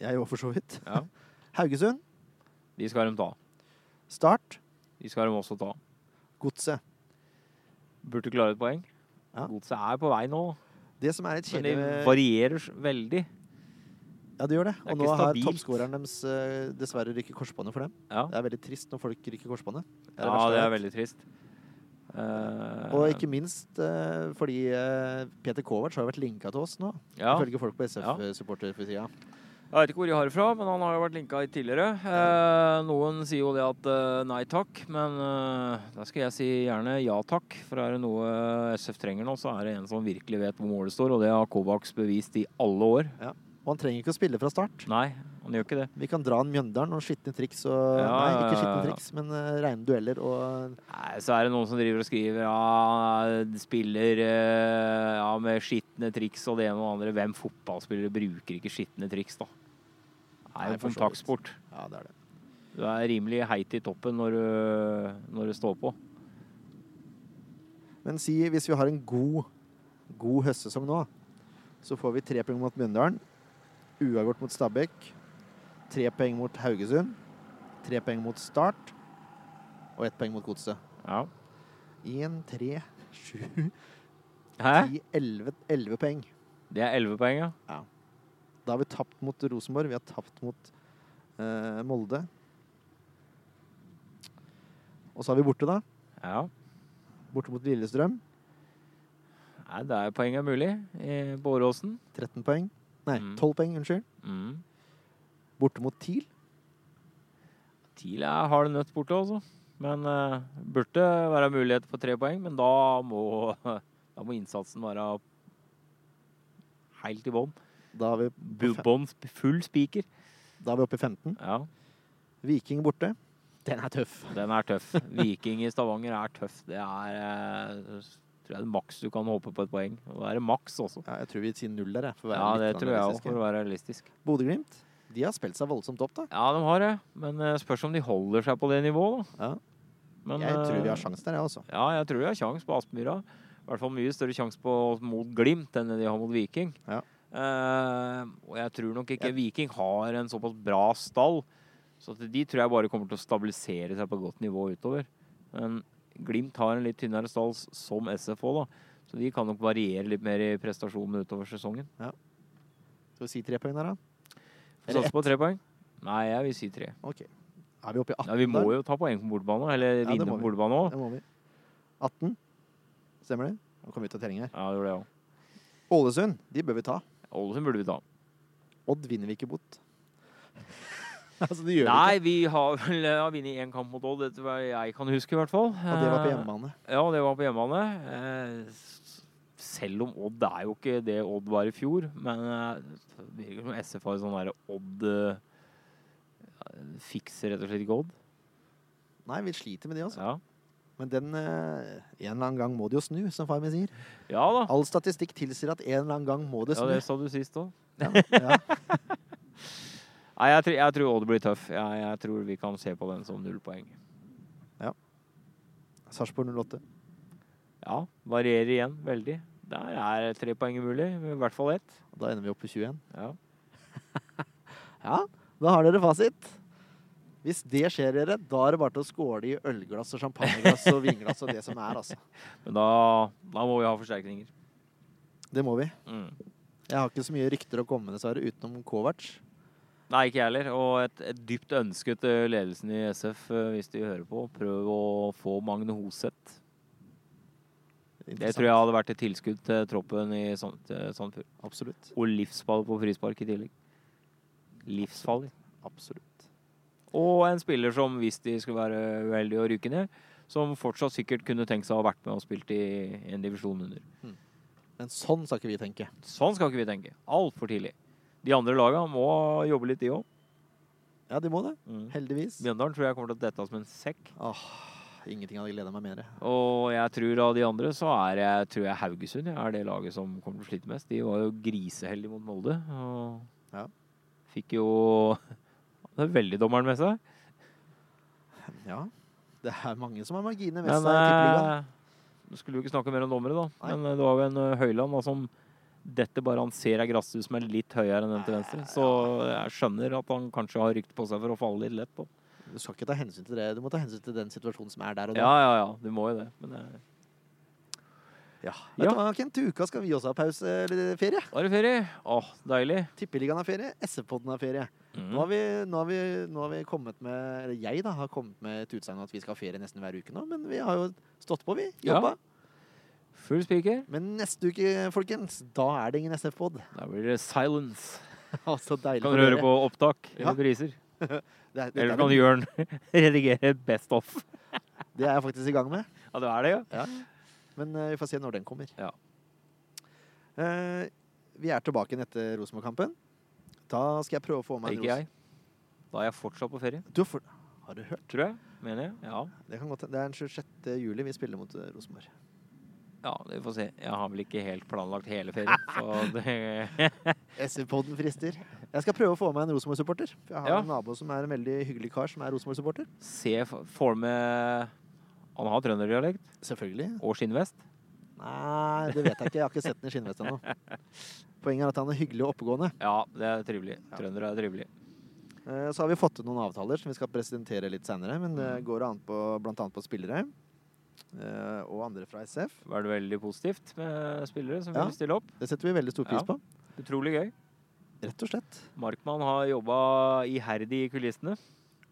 Speaker 1: jeg òg, for så vidt.
Speaker 2: Ja.
Speaker 1: Haugesund,
Speaker 2: De skal de ta.
Speaker 1: Start,
Speaker 2: De skal de også ta.
Speaker 1: Godset.
Speaker 2: Burde klare et poeng.
Speaker 1: Ja.
Speaker 2: Godset er på vei nå,
Speaker 1: Det som er litt
Speaker 2: men de
Speaker 1: kjedelig med-
Speaker 2: varierer s- veldig.
Speaker 1: Ja, det gjør det.
Speaker 2: Det er
Speaker 1: Og
Speaker 2: ikke
Speaker 1: nå har
Speaker 2: stabilt.
Speaker 1: toppskåreren deres eh, dessverre rykker korsbåndet for dem.
Speaker 2: Ja.
Speaker 1: Det er veldig trist når folk rykker korsbåndet. Det er det
Speaker 2: Ja,
Speaker 1: verste
Speaker 2: det
Speaker 1: jeg
Speaker 2: er
Speaker 1: vet.
Speaker 2: veldig trist. Eh,
Speaker 1: Og ikke minst eh, fordi eh, Peter Kovac har jo vært linka til oss nå,
Speaker 2: ja.
Speaker 1: ifølge folk på
Speaker 2: Ja.
Speaker 1: SF-supporterfritida.
Speaker 2: Jeg vet ikke hvor de har det fra, men han har jo vært linka hit tidligere. Eh, noen sier jo det at eh, nei takk, men eh, da skal jeg si gjerne ja takk. For er det noe SF trenger nå, så er det en som virkelig vet hvor målet står, og det har Kovacs bevist i alle år.
Speaker 1: Og han trenger ikke å spille fra start.
Speaker 2: Nei, han gjør ikke det.
Speaker 1: Vi kan dra en Mjøndalen og skitne triks og
Speaker 2: Ja,
Speaker 1: Nei,
Speaker 2: ja,
Speaker 1: ikke
Speaker 2: ja,
Speaker 1: skitne
Speaker 2: ja.
Speaker 1: triks, men eh, rene dueller og
Speaker 2: Nei, så er det noen som driver og skriver ja, spiller eh, ja, med skitne triks og det ene og det andre. Hvem fotballspillere bruker ikke skitne triks, da? Det er
Speaker 1: Nei, for
Speaker 2: jo
Speaker 1: så vidt.
Speaker 2: kontaktsport.
Speaker 1: Ja, det er det.
Speaker 2: Du er rimelig heit i toppen når du, når du står på.
Speaker 1: Men si hvis vi har en god, god høstsesong nå, så får vi tre poeng mot Mjøndalen, uavgjort mot Stabæk, tre poeng mot Haugesund, tre poeng mot Start og ett poeng mot Godset.
Speaker 2: Ja.
Speaker 1: Én, tre, sju,
Speaker 2: Hæ?
Speaker 1: ti, elleve elleve poeng.
Speaker 2: Det er elleve poeng, ja.
Speaker 1: Da har vi tapt mot Rosenborg, vi har tapt mot eh, Molde. Og så har vi borte, da.
Speaker 2: ja.
Speaker 1: Borte mot Lillestrøm.
Speaker 2: Nei, det er poeng er mulig i Båråsen.
Speaker 1: 13 poeng. Nei,
Speaker 2: Mm.
Speaker 1: 12 poeng, unnskyld.
Speaker 2: Mm.
Speaker 1: Borte mot TIL.
Speaker 2: TIL er hard nøtt borte, altså. Men eh, burde være mulighet for tre poeng, men da må, da må innsatsen være helt i bånn.
Speaker 1: Da er vi,
Speaker 2: Bu- Bånn, sp- full spiker.
Speaker 1: da er vi oppe i 15.
Speaker 2: Ja,
Speaker 1: Viking borte. Den er tøff.
Speaker 2: den er tøff. Viking i Stavanger er tøff. Det er eh, tror jeg det er maks du kan håpe på et poeng. Og Da er det maks også.
Speaker 1: Ja, jeg tror vi sier null der, jeg, for å være
Speaker 2: Ja, det
Speaker 1: litt
Speaker 2: tror jeg òg,
Speaker 1: realistiske.
Speaker 2: for å være realistisk.
Speaker 1: Bodø-Glimt de har spilt seg voldsomt opp, da.
Speaker 2: Ja, de har det, men eh, spørs om de holder seg på det nivået, da.
Speaker 1: Ja.
Speaker 2: Men,
Speaker 1: jeg tror vi
Speaker 2: eh,
Speaker 1: har sjanse der, jeg også.
Speaker 2: Ja, jeg tror de har sjanse på Aspmyra. I hvert fall mye større sjanse på mot Glimt enn det de har mot Viking.
Speaker 1: Ja.
Speaker 2: Eh, og jeg tror nok ikke Viking har en såpass bra stall, så at de tror jeg bare kommer til å stabilisere seg på godt nivå utover. Men Glimt har en litt tynnere stall, s- som SF òg, da. Så de kan nok variere litt mer i prestasjonen utover sesongen.
Speaker 1: Skal vi si tre poeng der, da?
Speaker 2: Får Satse på tre poeng? Nei, jeg vil si tre.
Speaker 1: OK. Er vi oppe i 18
Speaker 2: Ja, vi må
Speaker 1: der?
Speaker 2: jo ta poeng på bortebane,
Speaker 1: Ja, det
Speaker 2: eller vinne
Speaker 1: må
Speaker 2: på
Speaker 1: vi.
Speaker 2: bortebane òg.
Speaker 1: Det må vi. 18. Stemmer det? Nå kom vi ut av telling her.
Speaker 2: Ja, det gjorde jeg òg.
Speaker 1: Ålesund, de bør vi ta.
Speaker 2: Ålesund burde vi ta.
Speaker 1: Odd vinner vi ikke bort. altså, det gjør vi ikke.
Speaker 2: Nei, vi har vel eh, vunnet én kamp mot Odd, etter hva jeg kan huske, i hvert fall.
Speaker 1: Og det
Speaker 2: eh.
Speaker 1: var på hjemmebane.
Speaker 2: Ja, det var på hjemmebane. Eh, s- Selv om Odd er jo ikke det Odd var i fjor, men eh, det virker som SF har sånn derre Odd eh, Fikser rett og slett ikke Odd.
Speaker 1: Nei, vi sliter med det, altså.
Speaker 2: Ja,
Speaker 1: Men den eh, En eller annen gang må det jo snu, som far min sier.
Speaker 2: ja da.
Speaker 1: All statistikk tilsier at en eller annen gang må det
Speaker 2: Ja,
Speaker 1: snu.
Speaker 2: det sa du sist òg.
Speaker 1: Ja, ja.
Speaker 2: Nei, jeg, tror- jeg tror Odd blir tøff. Jeg, jeg tror vi kan se på den som null poeng.
Speaker 1: Sarpsborg 08.
Speaker 2: Ja, varierer igjen veldig. Der er tre poeng mulig. I hvert fall ett.
Speaker 1: Da ender vi opp på 21.
Speaker 2: Ja.
Speaker 1: Ja, da har dere fasit. Hvis det skjer, dere, da er det bare til å skåle i ølglass og champagneglass og vinglass og det som er, altså.
Speaker 2: Men da, da må vi ha forsterkninger.
Speaker 1: Det må vi.
Speaker 2: Mm.
Speaker 1: Jeg har ikke så mye rykter å komme med, dessverre, utenom Kovac.
Speaker 2: Nei, ikke jeg heller. Og et, et dypt ønske til ledelsen i SF, eh, hvis de hører på, prøv å få Magne Hoseth. Det tror jeg hadde vært et tilskudd til troppen i Sand- til Sandefjord.
Speaker 1: Absolutt.
Speaker 2: Og livsfall på frispark i tillegg. Livsfarlig.
Speaker 1: Absolutt.
Speaker 2: Og en spiller som, hvis de skulle være uheldige og ryke ned, som fortsatt sikkert kunne tenkt seg å ha vært med og spilt i en divisjon under.
Speaker 1: Men sånn skal ikke vi tenke.
Speaker 2: Sånn skal ikke vi tenke. Altfor tidlig. De andre laga må jobbe litt, de òg.
Speaker 1: Ja, de må det.
Speaker 2: Mm.
Speaker 1: Heldigvis.
Speaker 2: Mjøndalen tror jeg kommer til å dette av som en sekk.
Speaker 1: Åh, ingenting hadde gleda meg mer.
Speaker 2: Og jeg tror av de andre så er jeg, tror jeg Haugesund ja, er det laget som kommer til å slite mest. De var jo griseheldige mot Molde. Og
Speaker 1: Ja.
Speaker 2: fikk jo det er veldig dommeren med seg.
Speaker 1: Ja. Det er mange som har marginer med
Speaker 2: Men
Speaker 1: seg. i tippeligaen.
Speaker 2: eh, nå skulle vi ikke snakke mer om dommere, da.
Speaker 1: Nei.
Speaker 2: Men eh, det var jo en eh, Høyland da, som dette bare han ser er gresshus som er litt høyere enn den til venstre. Så jeg skjønner at han kanskje har rykte på seg for å falle litt lett. Da.
Speaker 1: Du skal ikke ta hensyn til det. Du må ta hensyn til den situasjonen som er der og da.
Speaker 2: Ja, ja, ja. Du må jo det. Men eh,
Speaker 1: Ja. Vet
Speaker 2: Ja.
Speaker 1: du hva, Kent? Til uka skal vi også ha pause eller ferie.
Speaker 2: da er det ferie. Åh, deilig.
Speaker 1: Tippeligaen har ferie. SF-podden har ferie.
Speaker 2: Mm.
Speaker 1: Nå, har vi, nå, har vi, nå har vi kommet med Eller jeg da, har kommet med et utsagn om at vi skal ha ferie nesten hver uke nå. Men vi har jo stått på, vi.
Speaker 2: Ja.
Speaker 1: Jobba.
Speaker 2: Full spiker.
Speaker 1: Men neste uke, folkens, da er det ingen SF-pod.
Speaker 2: Da blir det silence.
Speaker 1: altså, deilig.
Speaker 2: Kan
Speaker 1: for
Speaker 2: du høre
Speaker 1: dere.
Speaker 2: på opptak
Speaker 1: Ja.
Speaker 2: eller priser.
Speaker 1: Det er, dette
Speaker 2: Eller
Speaker 1: er
Speaker 2: kan
Speaker 1: vel-
Speaker 2: Jørn redigere best off.
Speaker 1: det er jeg faktisk i gang med.
Speaker 2: Ja, det er det, ja.
Speaker 1: Men eh, vi får se når den kommer.
Speaker 2: Ja.
Speaker 1: Eh, vi er tilbake igjen etter Rosenborg-kampen. Da skal jeg prøve å få meg en
Speaker 2: Ikke jeg. Da er jeg fortsatt på ferie,
Speaker 1: Ros- Du har for... Har du hørt?
Speaker 2: tror jeg. Mener jeg. Ja.
Speaker 1: Det kan godt hende. Det er den 26. juli vi spiller mot eh, Rosenborg.
Speaker 2: ja, vi får se. Jeg har vel ikke helt planlagt hele ferien, så det
Speaker 1: SV-podden frister. Jeg skal prøve å få meg en Rosenborg-supporter. for Jeg har
Speaker 2: Ja.
Speaker 1: en nabo som er en veldig hyggelig kar som er Rosenborg-supporter.
Speaker 2: Se, f- får med Han har trønderdialekt
Speaker 1: Selvfølgelig.
Speaker 2: og skinnvest.
Speaker 1: Nei, det vet jeg ikke. Jeg har ikke sett den i skinnvest ennå. Poenget er at han er hyggelig og oppegående.
Speaker 2: Ja, det er trivelig. Trøndere er trivelig.
Speaker 1: Eh, Så har vi fått til noen avtaler som vi skal presentere litt senere, men det går an på, blant annet på spillere eh, og andre fra SF.
Speaker 2: Var det veldig positivt med spillere som
Speaker 1: Ja.
Speaker 2: ville stille opp.
Speaker 1: Det setter vi veldig stor pris
Speaker 2: Ja.
Speaker 1: på.
Speaker 2: Utrolig gøy.
Speaker 1: Rett og slett.
Speaker 2: Markmann har jobba iherdig i kulissene.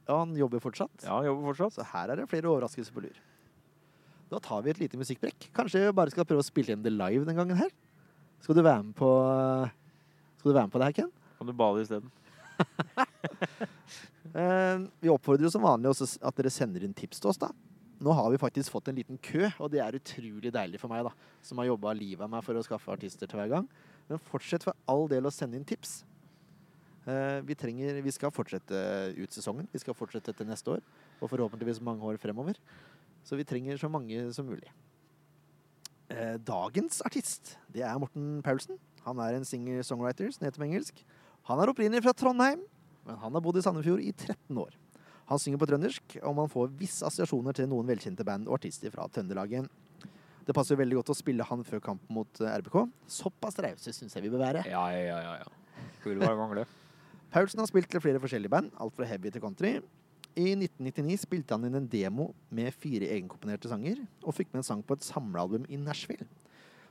Speaker 1: Ja, han jobber fortsatt.
Speaker 2: Ja, jobber fortsatt.
Speaker 1: Så her er det flere overraskelser på lur. Da tar vi et lite musikkbrekk. Kanskje vi bare skal prøve å spille inn det live den gangen her? Skal du være med på eh, Skal du være med på det her, Ken?
Speaker 2: Kan du bade isteden?
Speaker 1: Eh, Vi oppfordrer jo som vanlig også s- at dere sender inn tips til oss, da. Nå har vi faktisk fått en liten kø, og det er utrolig deilig for meg, da, som har jobba livet av meg for å skaffe artister til hver gang. Men fortsett for all del å sende inn tips. Eh, Vi, trenger, vi skal fortsette ut sesongen. Vi skal fortsette til neste år, og forhåpentligvis mange år fremover. Så vi trenger så mange som mulig. Eh, Dagens artist, det er Morten Paulsen. Han er en singer-songwriter som heter på engelsk. Han er opprinnelig fra Trondheim men han har bodd i Sandefjord i 13 år. Han synger på trøndersk, og man får visse assosiasjoner til noen velkjente band og artister fra Trøndelagen. Det passer veldig godt å spille han før kampen mot eh, RBK. Såpass rause syns jeg vi bør være.
Speaker 2: Ja, ja, ja. ja. Skulle bare mangle.
Speaker 1: Paulsen har spilt til flere forskjellige band, alt fra heavy til country. I 1999 spilte han inn en demo med fire egenkomponerte sanger, og fikk med en sang på et samlealbum i Nashville.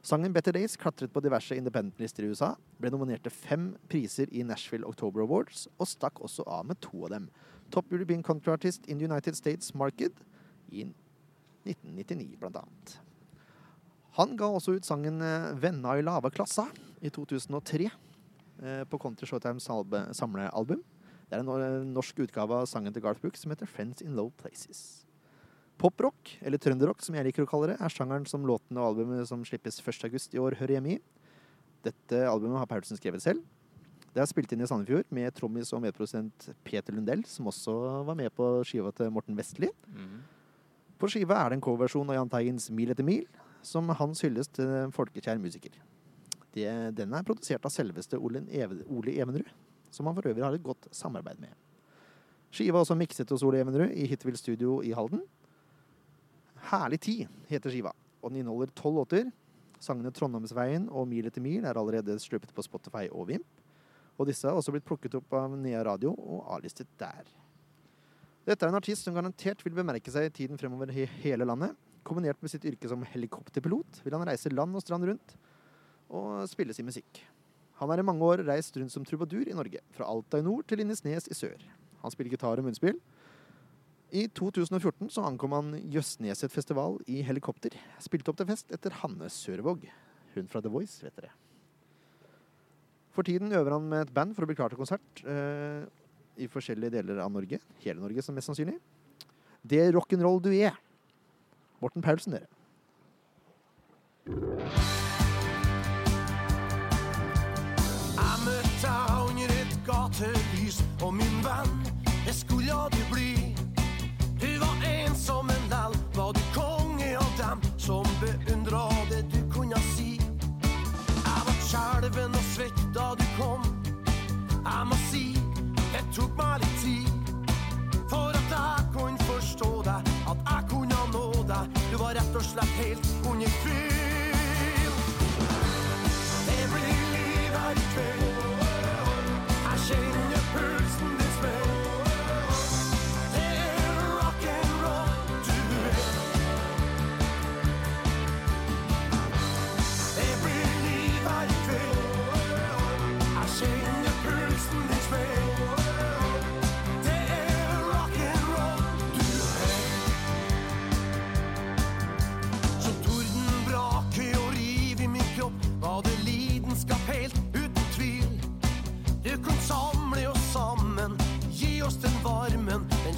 Speaker 1: Sangen Better Days klatret på diverse independent-lister i USA, ble nominert til fem priser i Nashville October Awards, og stakk også av med to av dem. Top European Country Artist in the United States Market i 1999, blant annet. Han ga også ut sangen eh, Venna i lava klassa i 2003 eh, på Country Showtimes salbe- samlealbum. Det er en eh, norsk utgave av sangen til Garth Brooks som heter Friends in Low Places. Poprock, eller trønderrock som jeg liker å kalle det, er sjangeren som låten og albumet som slippes 1. august i år, hører hjemme i. Dette albumet har Paulsen skrevet selv. Det er spilt inn i Sandefjord med trommis og medprodusent Peter Lundell, som også var med på skiva til Morten Vestli.
Speaker 2: Mhm.
Speaker 1: På skiva er det en coverversjon av Jahn Teigens 'Mil etter mil', som hans hylles til en folkekjær musiker. Det, den er produsert av selveste Ole, Eve, Ole Evenrud, som han for øvrig har et godt samarbeid med. Skiva er også mikset hos Ole Evenrud i Hitwill Studio i Halden. 'Herlig tid' heter skiva, og den inneholder tolv låter. Sangene 'Trondheimsveien' og 'Mil etter mil' er allerede sluppet på Spotify og Vimp. Og disse har også blitt plukket opp av Nea Radio og A-listet der. Dette er en artist som garantert vil bemerke seg i tiden fremover i hele landet. Kombinert med sitt yrke som helikopterpilot vil han reise land og strand rundt og spille sin musikk. Han har i mange år reist rundt som trubadur i Norge, fra Alta i nord til Lindesnes i sør. Han spiller gitar og munnspill. I 2014 så ankom han Jøsneset festival i helikopter. Spilte opp til fest etter Hanne Sørvåg. Hun fra The Voice, vet dere. For tiden øver han med et band for å bli klar til konsert eh, i forskjellige deler av Norge. Hele Norge, som mest sannsynlig. Det er rock'n'roll du er. Morten Paulsen, dere.
Speaker 3: Jeg møtte deg under et gatelys, og min venn, det skulle du bli. Du var ensom, men lell var du konge av dem som beundra det du kunne si. Jeg var skjelven og svett da du kom. Jeg må si, det tok meg litt tid. For at jeg kunne forstå deg, at jeg kunne nå deg. Du var rett og slett helt under fyll. Det blir liv her i kveld. Jeg kjenner pulsen din smell. Det er rock'n'roll du er. Det blir liv her i kveld. Jeg kjenner pulsen din smell. Det er rock'n'roll du er. Som torden braker og riv i min kropp Var det lidenskap helt uten tvil Du kan samle oss sammen Gi oss den varmen Den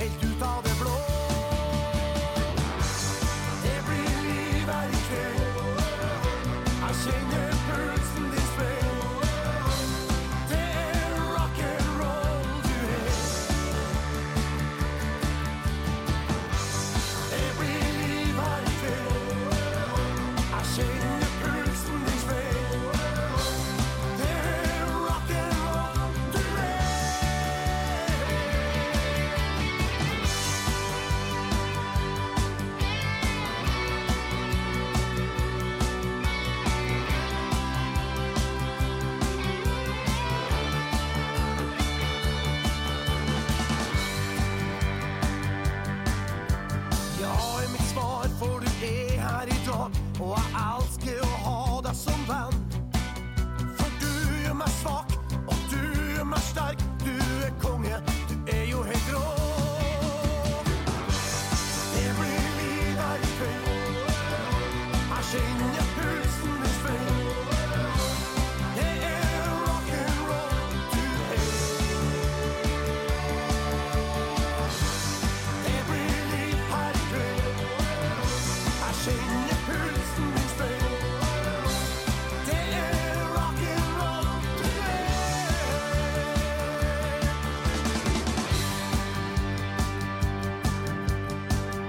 Speaker 3: helt ut av det blå det blir liv her i kveld. Jeg kjenner pulsen din spør. Det er rock'n'roll. E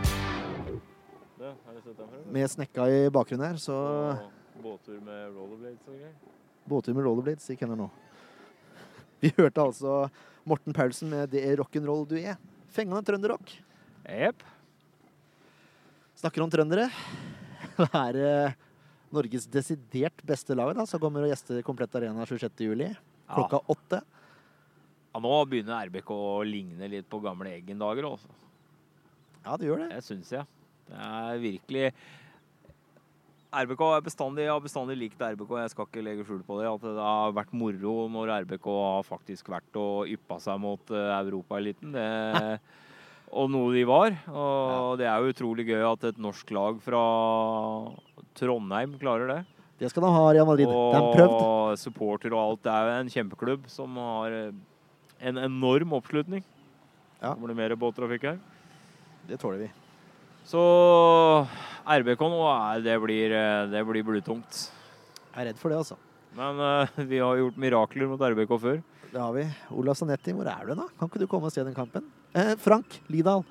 Speaker 4: Har du sett den før?
Speaker 1: Med snekka i bakgrunnen her, så
Speaker 4: Og Båttur med rollerblades og greier.
Speaker 1: Båttur med rollerblades gikk henne nå. Vi hørte altså Morten Paulsen med 'Det er rock'n'roll du er'. Fengende trønderrock.
Speaker 2: Jepp.
Speaker 1: Snakker om trøndere. Det er eh, Norges desidert beste lag da, som kommer og gjester Komplett Arena 26.07.
Speaker 2: Ja.
Speaker 1: klokka åtte.
Speaker 2: ja, nå begynner RBK å ligne litt på gamle Eggen-dager, altså.
Speaker 1: Ja, det gjør det.
Speaker 2: Det syns jeg. Det er virkelig RBK er bestandig, jeg har bestandig likt RBK. Jeg skal ikke legge skjul på det. At det har vært moro når RBK har faktisk vært og yppa seg mot eh, europaeliten. Det- Og noe de var. Og det er jo utrolig gøy at et norsk lag fra Trondheim klarer det.
Speaker 1: Det skal de ha, Real Madrid. De har prøvd.
Speaker 2: Og supporter og alt. Det er jo en kjempeklubb som har eh, en enorm oppslutning.
Speaker 1: Ja.
Speaker 2: Kommer det mer båttrafikk her?
Speaker 1: Det tåler vi.
Speaker 2: Så RBK nå, eh, det blir, eh, det blir blutungt.
Speaker 1: Jeg er redd for det, altså.
Speaker 2: Men eh, vi har gjort mirakler mot RBK før.
Speaker 1: Det har vi. Olav Sanetti, hvor er du nå? Kan ikke du komme og se den kampen? Eh, Frank Lidal.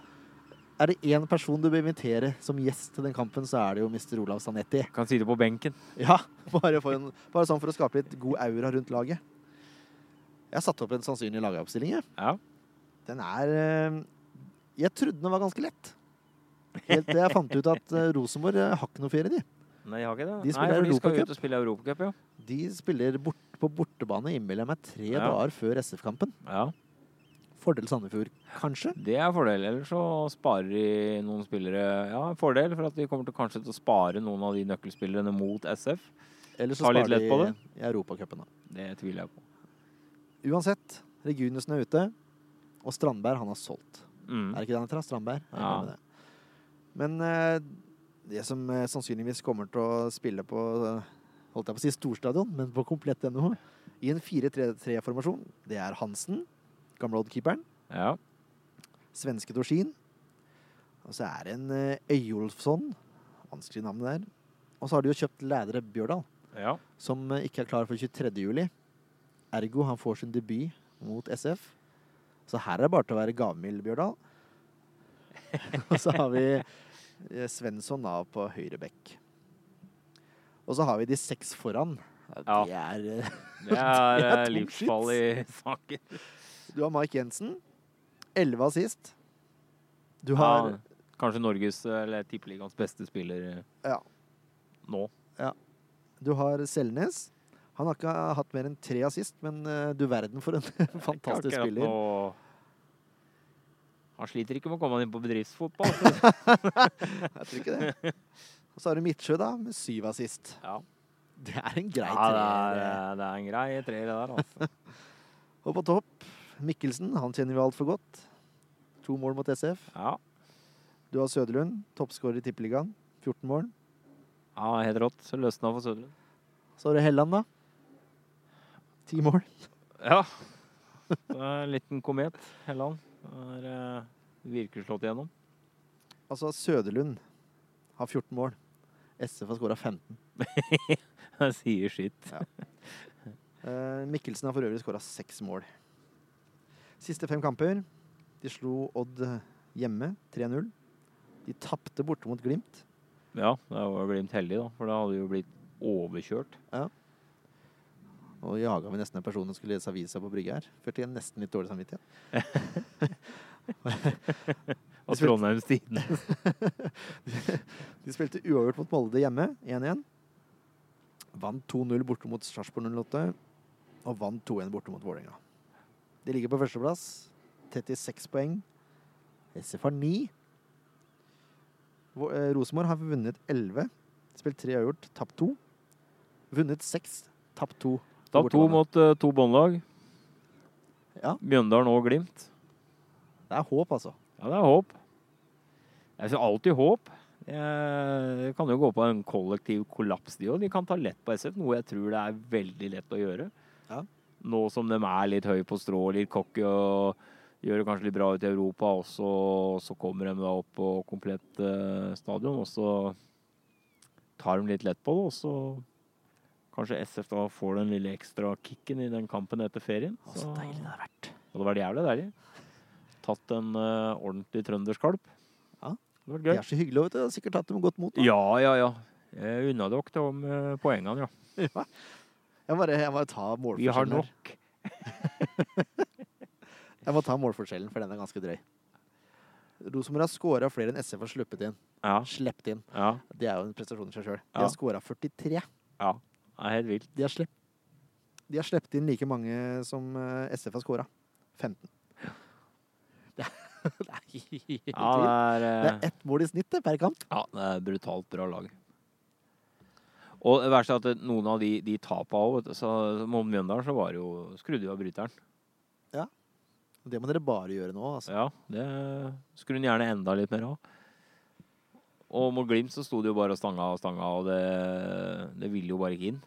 Speaker 1: Er det én person du bør invitere som gjest til den kampen, så er det jo Mr. Olav Sanetti.
Speaker 2: Kan sitte på benken.
Speaker 1: Ja, bare, for en, bare sånn for å skape litt god aura rundt laget. Jeg satte opp en sannsynlig lagoppstilling. jeg.
Speaker 2: Ja.
Speaker 1: Den er eh, Jeg trodde den var ganske lett. Helt til jeg fant ut at eh, Rosenborg eh, har ikke noe ferie, de.
Speaker 2: Nei, jeg har ikke det.
Speaker 1: De
Speaker 2: Nei,
Speaker 1: spiller
Speaker 2: for de skal
Speaker 1: Europacup.
Speaker 2: ut og spille Europacup, ja.
Speaker 1: De spiller bort, på bortebane, innbiller jeg meg, tre
Speaker 2: Ja.
Speaker 1: dager før SF-kampen.
Speaker 2: ja.
Speaker 1: Fordel Sandefjord, kanskje.
Speaker 2: Det er fordel. Ellers så sparer de noen spillere Ja, en fordel for at de kommer til kanskje til å spare noen av de nøkkelspillerne mot SF.
Speaker 1: Eller så
Speaker 2: Ta litt
Speaker 1: sparer
Speaker 2: lett på
Speaker 1: de i Europacupen, da.
Speaker 2: Det tviler jeg på.
Speaker 1: Uansett, Regunesen er ute, og Strandberg, han har solgt.
Speaker 2: Mm.
Speaker 1: Er det ikke det han heter? da? Strandberg? Jeg er
Speaker 2: Ja.
Speaker 1: med det. Men eh, det som eh, sannsynligvis kommer til å spille på eh, holdt jeg på å si storstadion, men på komplett NHO, i en 4-3-3-formasjon, det er Hansen, gamle oddkeeperen,
Speaker 2: Ja.
Speaker 1: svenske Dorsin, og så er det en eh, Øyolfsson, vanskelig navn det der, og så har de jo kjøpt Lædre Bjørdal,
Speaker 2: ja.
Speaker 1: som eh, ikke er klar for 23. juli. Ergo han får sin debut mot SF. Så her er det bare til å være gavmild, Bjørdal. Og så har vi eh, Svensson da på høyre bekk. Og så har vi de seks foran.
Speaker 2: Ja.
Speaker 1: Det er eh,
Speaker 2: Det er eh,
Speaker 1: tungt shit.
Speaker 2: livsfall i saken.
Speaker 1: Du har Mike Jensen. Elleve assist. Du
Speaker 2: Ja,
Speaker 1: har
Speaker 2: kanskje Norges eh, eller tippeligaens beste spiller eh,
Speaker 1: Ja.
Speaker 2: nå.
Speaker 1: Du har Selnes. Han har ikke hatt mer enn tre assist, men eh, du verden for en fantastisk
Speaker 2: Akkurat
Speaker 1: spiller.
Speaker 2: nå- Han sliter ikke med å komme inn på bedriftsfotball. så-
Speaker 1: Jeg tror ikke det. Og så har du Midtsjø, da, med syv assist.
Speaker 2: Ja.
Speaker 1: Det er en grei
Speaker 2: ja,
Speaker 1: treer. eh.
Speaker 2: det, er, eh, det er en grei treer, det der. Altså.
Speaker 1: Og på topp, Mikkelsen. Han kjenner vi altfor godt. To mål mot SF.
Speaker 2: Ja,
Speaker 1: Du har Søderlund, toppskårer i Tippeligaen. 14 mål.
Speaker 2: ja helt rått. Så løsna for Søderlund.
Speaker 1: Så har du Helland, da. Ti mål.
Speaker 2: Ja. Det er en liten komet, Helland. Det er eh, virkelig slått igjennom.
Speaker 1: Altså, Søderlund har 14 mål. SF har skåra 15.
Speaker 2: Jeg sier sitt.
Speaker 1: Eh, Mikkelsen har for øvrig skåra seks mål. Siste fem kamper. De slo Odd eh, hjemme 3-0. De tapte borte mot Glimt.
Speaker 2: Ja, det var Glimt heldig, da. For da hadde vi jo blitt overkjørt.
Speaker 1: Og jaga vi nesten en person som skulle lese avisa på brygga her. Følte jeg nesten litt dårlig samvittighet.
Speaker 2: Og Trondheims Tidende.
Speaker 1: De spilte uavgjort mot Molde hjemme, 1-1. Vant 2-0 borte mot Sarpsborg 08. Og vant 2-1 borte mot Vålerenga. De ligger på førsteplass. 36 poeng. SF har 9. Vå- eh, Rosenborg har vunnet 11. Spilt 3 uavgjort, tapt 2. Vunnet 6, tapt 2.
Speaker 2: Da to mot eh, to båndlag.
Speaker 1: Ja.
Speaker 2: Mjøndalen og Glimt.
Speaker 1: Det er håp, altså.
Speaker 2: Ja, det er håp. Jeg synes alltid håp. Eh, Det kan jo gå på en kollektiv kollaps, de òg. De kan ta lett på SF, noe jeg tror det er veldig lett å gjøre.
Speaker 1: Ja.
Speaker 2: Nå som de er litt høye på strå, litt cocky og gjør det kanskje litt bra ut i Europa også, og så kommer de da opp på komplett eh, stadion, og så tar de litt lett på det, og så kanskje SF da får den lille ekstra kicken i den kampen etter ferien.
Speaker 1: Å, Så deilig det har vært.
Speaker 2: Det hadde vært jævlig deilig. Tatt en eh, ordentlig trønderskalp.
Speaker 1: Ja.
Speaker 4: Det var
Speaker 1: De
Speaker 4: gøy.
Speaker 1: er så hyggelige, vet du. Jeg har sikkert tatt dem godt mot. da.
Speaker 2: Ja, ja, ja. Jeg unna dere de eh, poengene, ja.
Speaker 1: Jeg, bare, jeg må ta
Speaker 2: Vi har
Speaker 1: målforskjellen her.
Speaker 2: nok.
Speaker 1: Jeg må ta målforskjellen, for den er ganske drøy. Rosenborg har skåra flere enn SF har sluppet inn.
Speaker 2: Ja,
Speaker 1: Sleppet inn.
Speaker 2: ja.
Speaker 1: Det er jo en prestasjon i seg sjøl. De
Speaker 2: Ja.
Speaker 1: har skåra 43.
Speaker 2: ja. Det er helt vilt.
Speaker 1: De har, slepp, de har sleppet inn like mange som eh, SF har skåra. 15. Det er, det er helt
Speaker 2: Ja,
Speaker 1: vilt. Det
Speaker 2: det er, eh,
Speaker 1: er ett mål i snittet per kamp.
Speaker 2: ja, det er brutalt bra lag. Og det verste er at noen av de, de tapa òg. Mot Mjøndalen så var det jo skrudde vi av bryteren.
Speaker 1: Det må dere bare gjøre nå. Altså.
Speaker 2: Ja, det skulle hun gjerne enda litt mer av. Og mot Glimt så sto det jo bare og stanga og stanga, og det, det ville jo bare ikke inn.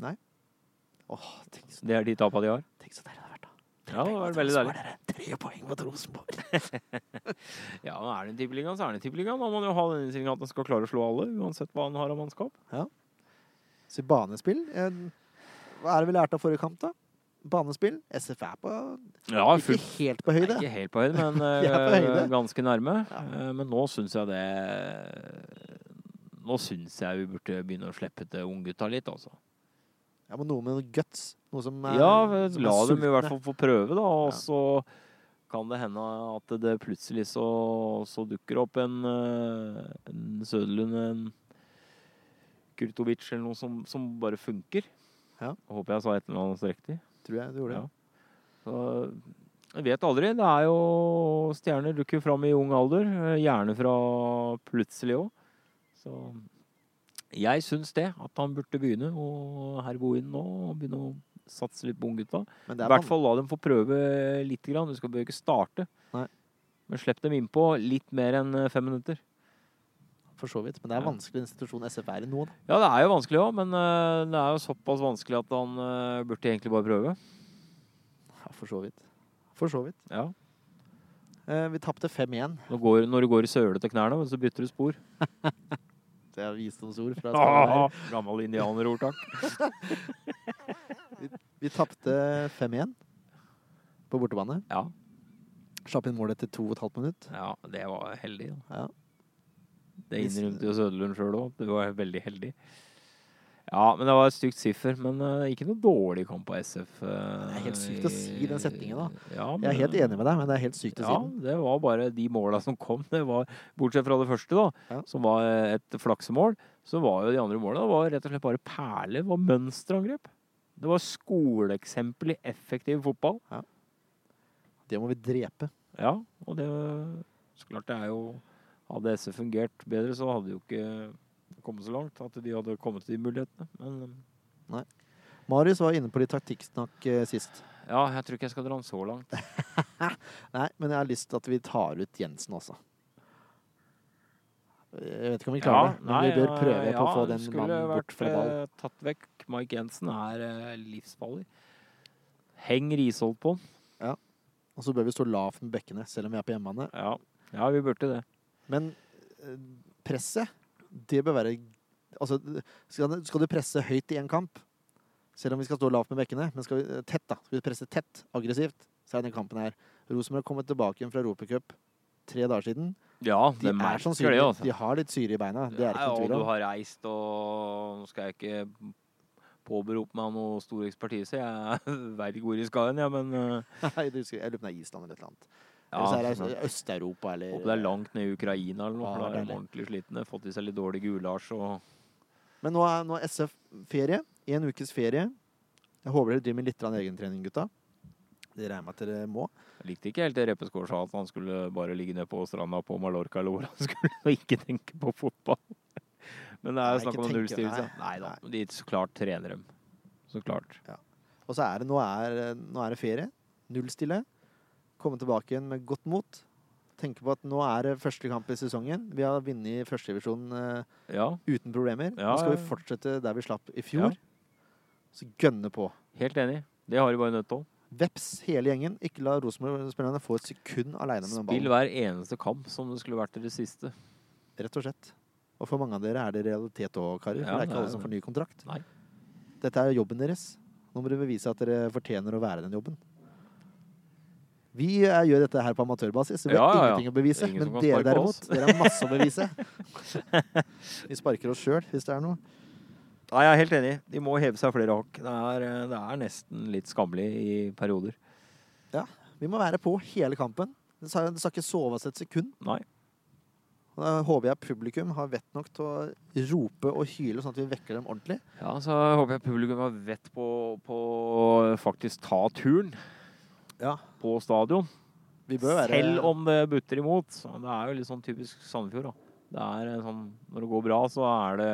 Speaker 1: Åh, tenk, så-
Speaker 2: Det er de tapa de har.
Speaker 1: tenk så deilig det har vært, da.
Speaker 2: Ja, det var veldig deilig.
Speaker 1: Tre poeng mot Rosenborg.
Speaker 2: Ja, nå er det en tippeligaen, så er det en tippeligaen. Da må man jo ha den innstillingen at man skal klare å slå alle, uansett hva han har av mannskap.
Speaker 1: Så banespill eh, Hva er det vi lærte av forrige kamp, da? Banespill. SF er på
Speaker 2: Ja,
Speaker 1: ikke
Speaker 2: fullt.
Speaker 1: helt på høyde.
Speaker 2: Ikke helt på høyde, men
Speaker 1: De er på
Speaker 2: eh,
Speaker 1: høyde.
Speaker 2: ganske nærme.
Speaker 1: Ja.
Speaker 2: Eh, Men nå syns jeg det Nå syns jeg vi burde begynne å slippe til unggutta litt, altså.
Speaker 1: Ja, men noe med noe guts. Noe som er,
Speaker 2: Ja,
Speaker 1: som er
Speaker 2: la dem i
Speaker 1: sultne.
Speaker 2: hvert fall få prøve, da.
Speaker 1: Ja.
Speaker 2: Og så kan det hende at det plutselig så, så dukker opp en, eh, en Søderlund, en Kurtovic eller noe som, som bare funker.
Speaker 1: Ja.
Speaker 2: Håper jeg sa et eller annet riktig.
Speaker 1: Tror jeg du gjorde det.
Speaker 2: Ja. Så jeg vet aldri. Det er jo Stjerner dukker jo fram i ung alder. eh, Gjerne fra plutselig òg. Så jeg syns det. At han burde begynne å herbo inn nå og begynne å satse litt på unggutta.
Speaker 1: Men det
Speaker 2: I
Speaker 1: er
Speaker 2: hvert
Speaker 1: van-
Speaker 2: fall la dem få prøve lite grann. Du skal bør ikke starte.
Speaker 1: Nei.
Speaker 2: Men slipp dem innpå litt mer enn eh, fem minutter.
Speaker 1: for så vidt. Men det er
Speaker 2: Ja.
Speaker 1: vanskelig institusjon SF er i nå. Da.
Speaker 2: Ja, det er jo vanskelig òg, men eh, det er jo såpass vanskelig at han eh, burde egentlig bare prøve.
Speaker 1: Ja, for så vidt. For så vidt.
Speaker 2: Ja.
Speaker 1: Eh, vi tapte 5-1.
Speaker 2: Når du går, når du går i sølete knærne, så bytter du spor.
Speaker 1: Det er visdomsord fra spilleren her.
Speaker 2: Ah, gammel indianerordtak.
Speaker 1: Vi tapte 5-1 på bortebane.
Speaker 2: Ja,
Speaker 1: Slapp inn mål etter 2,5 minutt.
Speaker 2: ja, det var heldig. Da.
Speaker 1: Ja.
Speaker 2: Det innrømte jo Søderlund sjøl òg, du var veldig heldig. Ja, men det var et stygt siffer. Men eh, ikke noe dårlig kamp av SF.
Speaker 1: Det er helt sykt å si den setningen, da.
Speaker 2: Ja,
Speaker 1: Jeg er helt enig med deg, men det er helt sykt å si
Speaker 2: Ja,
Speaker 1: den.
Speaker 2: det var bare de måla som kom. Det var, bortsett fra det første, da,
Speaker 1: Ja.
Speaker 2: som var eh, et flaksemål, så var jo de andre måla var rett og slett bare perler. var mønsterangrep. Det var skoleeksempel i effektiv fotball.
Speaker 1: Det må vi drepe.
Speaker 2: Ja, og det Så klart det er jo Hadde SF fungert bedre, så hadde det jo ikke kommet så langt at de hadde kommet til de mulighetene. Men
Speaker 1: Marius var inne på litt taktikksnakk eh, sist.
Speaker 2: ja, jeg tror ikke jeg skal dra den så langt.
Speaker 1: Nei, men jeg har lyst til at vi tar ut Jensen også. Jeg vet ikke om vi klarer det, men vi bør prøve
Speaker 2: eh,
Speaker 1: på å få den mannen bort fra ball.
Speaker 2: Skulle vært eh, tatt vekk. Mike Jensen er eh, livsfarlig. Heng Risholt på den.
Speaker 1: Og så bør vi stå lavt med bekkene, selv om vi er på hjemmebane.
Speaker 2: Ja. ja, vi burde det.
Speaker 1: Men eh, presset, det bør være Altså, skal, skal du presse høyt i en kamp, selv om vi skal stå lavt med bekkene, men skal vi eh, tett, da. Skal vi presse tett, aggressivt, så er denne kampen her Rosenborg har kommet tilbake igjen fra Europacup tre dager siden.
Speaker 2: Ja,
Speaker 1: De
Speaker 2: det
Speaker 1: er
Speaker 2: merker
Speaker 1: sannsynlig
Speaker 2: det, altså.
Speaker 1: De har litt syre i beina. Det er det ikke
Speaker 2: Ja,
Speaker 1: noe tvil
Speaker 2: Og du
Speaker 1: om.
Speaker 2: har reist, og nå skal jeg ikke påberope meg noe stor ekspertise. Jeg veit ikke hvor jeg skal hen, jeg, men eh,
Speaker 1: Nei, du husker, jeg lurer på om det er Island eller et eller annet.
Speaker 2: ja,
Speaker 1: eller så er
Speaker 2: sånn at-
Speaker 1: det Øst-Europa eller
Speaker 2: Håper det er langt ned i Ukraina eller noe,
Speaker 1: Ja,
Speaker 2: for da er de
Speaker 1: deilig.
Speaker 2: ordentlig slitne. Fått i seg litt dårlig gulasj og
Speaker 1: Men nå er, nå er SF ferie. En ukes ferie. Jeg håper dere driver med litt grann egentrening, gutta. Det regner jeg med at dere må.
Speaker 2: Jeg likte ikke helt det Reppeskår sa, at han skulle bare ligge ned på stranda på Mallorca eller hvor han skulle, og ikke tenke på fotball. Men det er
Speaker 1: Nei,
Speaker 2: snakk
Speaker 1: ikke
Speaker 2: om
Speaker 1: tenke,
Speaker 2: nullstillelse. Nei
Speaker 1: nei,
Speaker 2: da, de så klart trener dem. Så klart.
Speaker 1: Og så er det nå er, nå er det ferie. Null stille. Komme tilbake igjen med godt mot. Tenke på at nå er det første kamp i sesongen. Vi har vunnet førstedivisjonen uh,
Speaker 2: Ja,
Speaker 1: uten problemer.
Speaker 2: Ja,
Speaker 1: nå skal
Speaker 2: ja.
Speaker 1: vi fortsette der vi slapp i fjor. Så gønne på.
Speaker 2: helt enig. Det har de bare nødt til.
Speaker 1: Veps hele gjengen. Ikke la Rosenborg-spillerne få et sekund aleine med den
Speaker 2: Spill
Speaker 1: ballen.
Speaker 2: hver eneste kamp som det skulle vært i det siste.
Speaker 1: Rett og slett. Og for mange av dere er det realitet òg, karer.
Speaker 2: Ja,
Speaker 1: for det er
Speaker 2: det
Speaker 1: ikke
Speaker 2: er
Speaker 1: alle som
Speaker 2: det.
Speaker 1: får ny kontrakt.
Speaker 2: Nei.
Speaker 1: Dette er jobben deres. Nå må dere bevise at dere fortjener å være den jobben. Vi eh, gjør dette her på amatørbasis, så vi har
Speaker 2: Ja, ja, ja.
Speaker 1: ingenting å bevise.
Speaker 2: Ingen som
Speaker 1: Men
Speaker 2: kan
Speaker 1: dere
Speaker 2: sparke
Speaker 1: derimot,
Speaker 2: oss.
Speaker 1: dere har masse å bevise. Vi sparker oss sjøl hvis det er noe.
Speaker 2: Nei, jeg er helt enig. De må heve seg flere hakk. Det er, eh, det er nesten litt skammelig i perioder.
Speaker 1: Vi må være på hele kampen. Det skal det skal ikke soves et sekund.
Speaker 2: Nei.
Speaker 1: Og Da håper jeg publikum har vett nok til å rope og hyle, sånn at vi vekker dem ordentlig.
Speaker 2: Ja, så håper jeg publikum har vett på, på å faktisk ta turen
Speaker 1: Ja.
Speaker 2: på stadion.
Speaker 1: Vi bør være
Speaker 2: Selv om det butter imot. Så Det er jo litt sånn typisk Sandefjord, da. Det er eh, sånn, når det går bra, så er det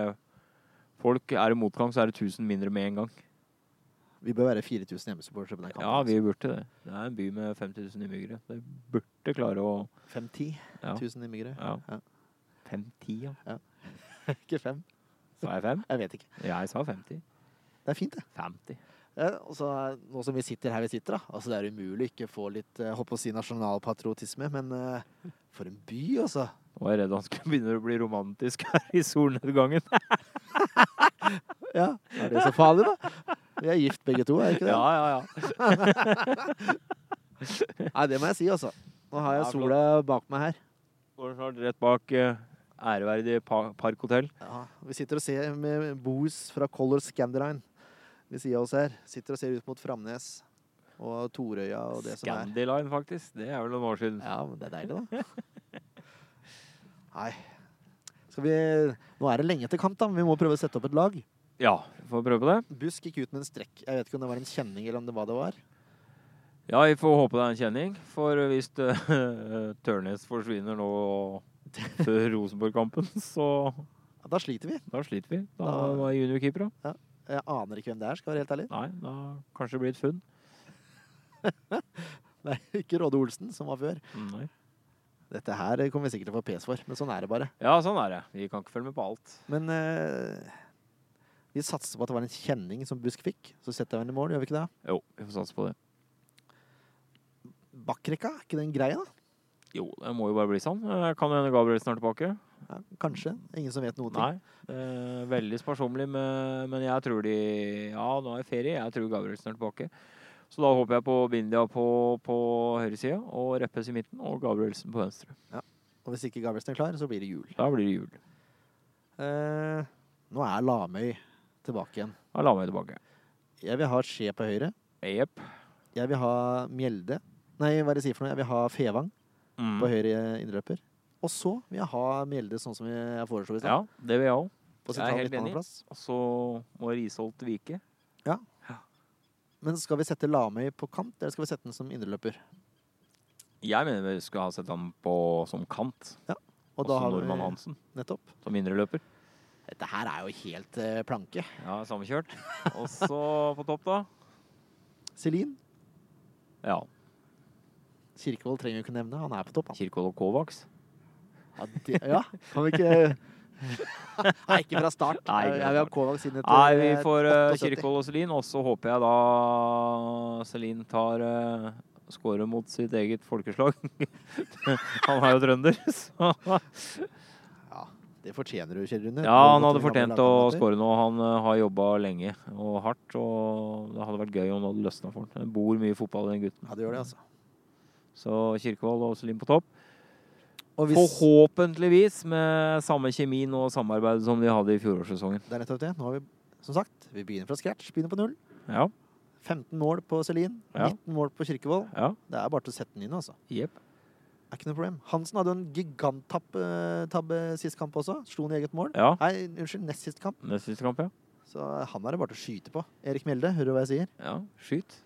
Speaker 2: folk Er det motgang, så er det 1000 mindre med en gang.
Speaker 1: Vi bør være 4000 hjemmesupportere på den kampen.
Speaker 2: Ja, altså. vi burde det. Det er en by med 50 000 innbyggere. Det burde klare å
Speaker 1: 5-10
Speaker 2: Ja.
Speaker 1: 1000 innbyggere.
Speaker 2: ja.
Speaker 1: Ja.
Speaker 2: 5-10, ja.
Speaker 1: Ikke fem.
Speaker 2: Sa jeg 5?
Speaker 1: Jeg vet ikke.
Speaker 2: Jeg sa 50.
Speaker 1: Det er fint, det.
Speaker 2: 50.
Speaker 1: Ja, og så, nå som vi sitter her vi sitter, da. Altså, det er umulig ikke få litt eh, håper å si nasjonalpatriotisme, men eh, for en by, altså.
Speaker 2: Nå var jeg redd han skulle begynne å bli romantisk her i solnedgangen.
Speaker 1: Ja, Er det så farlig, da? Vi er gift begge to, er vi ikke det?
Speaker 2: Ja, ja, ja.
Speaker 1: Nei, det må jeg si, altså. Nå har jeg
Speaker 2: Ja,
Speaker 1: sola bak meg her.
Speaker 2: Går snart rett bak eh, æreverdig pa Park Hotell.
Speaker 1: Ja, vi sitter og ser med Boos fra Color Scandaline ved sida av oss her. Sitter og ser ut mot Framnes og Torøya og det som er.
Speaker 2: Scandiline, faktisk. Det er vel noen år siden.
Speaker 1: Ja, men det er deilig, da. Nei. Skal vi Nå er det lenge til kamp, da. men Vi må prøve å sette opp et lag.
Speaker 2: Ja, vi får prøve på det.
Speaker 1: Busk gikk ut med en strekk. Jeg vet ikke om det var en kjenning eller om det hva det var.
Speaker 2: Ja, vi får håpe det er en kjenning. For hvis eh, Tørnes forsvinner nå før Rosenborg-kampen, så
Speaker 1: Ja, da sliter vi.
Speaker 2: da sliter vi. Da
Speaker 1: Da-
Speaker 2: var juniorkeepera.
Speaker 1: Jeg aner ikke hvem det er, skal jeg være helt ærlig.
Speaker 2: Nei, da kanskje det blir et funn.
Speaker 1: Det er ikke Råde Olsen som var før.
Speaker 2: Mm, Nei.
Speaker 1: Dette her kommer vi sikkert til å få pes for, men sånn er det bare.
Speaker 2: Ja, sånn er det. Vi kan ikke følge med på alt.
Speaker 1: Men eh, vi satser på at det var en kjenning som Busk fikk. Så setter vi den i mål, gjør vi ikke det?
Speaker 2: Jo, vi får satse på det.
Speaker 1: Bakkrekka, er ikke den greia, da?
Speaker 2: Jo, det må jo bare bli sånn. Eh, Kan hende Gabrielsen er tilbake.
Speaker 1: Ja, kanskje. Ingen som vet noen ting.
Speaker 2: Nei. Eh, veldig sparsommelig, med, men jeg tror de Ja, nå er det ferie. Jeg tror Gabrielsen er tilbake. Så da håper jeg på Bindia på, på høyresida og Reppes i midten og Gabrielsen på venstre.
Speaker 1: Og hvis ikke Gabrielsen er klar, så blir det jul.
Speaker 2: Da blir det jul.
Speaker 1: Eh, nå er Lamøy tilbake igjen.
Speaker 2: Da la meg tilbake.
Speaker 1: Jeg vil ha Skje på høyre.
Speaker 2: Jepp.
Speaker 1: Jeg vil ha Mjelde. Nei, hva er det jeg sier for noe? Jeg vil ha Fevang.
Speaker 2: Mm.
Speaker 1: på høyre innløper. Og så vil jeg ha Mjelde sånn som jeg foreslo i
Speaker 2: Ja,
Speaker 1: stad.
Speaker 2: det vil jeg òg.
Speaker 1: på
Speaker 2: jeg er
Speaker 1: sentral
Speaker 2: helt enig.
Speaker 1: midtbaneplass.
Speaker 2: Og så må Risholt vike.
Speaker 1: Men skal vi sette Lamøy på kant, eller skal vi sette den som indreløper?
Speaker 2: Jeg mener vi skulle ha sett ham på som kant.
Speaker 1: Og
Speaker 2: også
Speaker 1: da har
Speaker 2: Normann
Speaker 1: vi
Speaker 2: Hansen
Speaker 1: nettopp.
Speaker 2: som indreløper.
Speaker 1: Dette her er jo helt eh, planke.
Speaker 2: Ja, sammenkjørt. Og så på topp, da.
Speaker 1: Celine
Speaker 2: Ja.
Speaker 1: Kirkevold trenger vi ikke nevne, han er på topp. Han.
Speaker 2: Kirkvold og Kovacs.
Speaker 1: Ja, det, ja, kan vi ikke Nei, ikke fra start.
Speaker 2: Nei, ikke fra
Speaker 1: jeg vil ha
Speaker 2: start.
Speaker 1: Kovac inn etter
Speaker 2: Nei, vi
Speaker 1: eh,
Speaker 2: får eh,
Speaker 1: 78.
Speaker 2: Kirkvold og Celine, og så håper jeg da Celine tar uh, scorer mot sitt eget folkeslag. han er jo trønder, så
Speaker 1: Ja, det fortjener du, Kjell Rune.
Speaker 2: Ja, han hadde fortjent å score nå. Han eh, har jobba lenge og hardt, og det hadde vært gøy om det hadde løsna for ham. Det bor mye fotball i den gutten.
Speaker 1: Ja, det gjør det, altså.
Speaker 2: Så Kirkvold og Celine på topp.
Speaker 1: Og hvis,
Speaker 2: Forhåpentligvis med samme kjemien og samarbeid som de hadde i fjorårssesongen.
Speaker 1: det er nettopp det. Nå har vi, som sagt, vi begynner fra scratch. Begynner på null.
Speaker 2: Ja.
Speaker 1: 15 mål på Celine,
Speaker 2: Ja.
Speaker 1: 19 mål på Kirkevold.
Speaker 2: Ja.
Speaker 1: Det er bare til å sette den inn, altså.
Speaker 2: Jepp.
Speaker 1: Det er ikke noe problem. Hansen hadde jo en giganttabb eh, tabbe sist kamp også. Slo den i eget mål.
Speaker 2: Ja.
Speaker 1: Nei, unnskyld, nest sist kamp.
Speaker 2: Neste siste kamp, ja.
Speaker 1: Så han er det bare til å skyte på. Erik Mjelde, hører du hva jeg sier?
Speaker 2: ja. Skyt.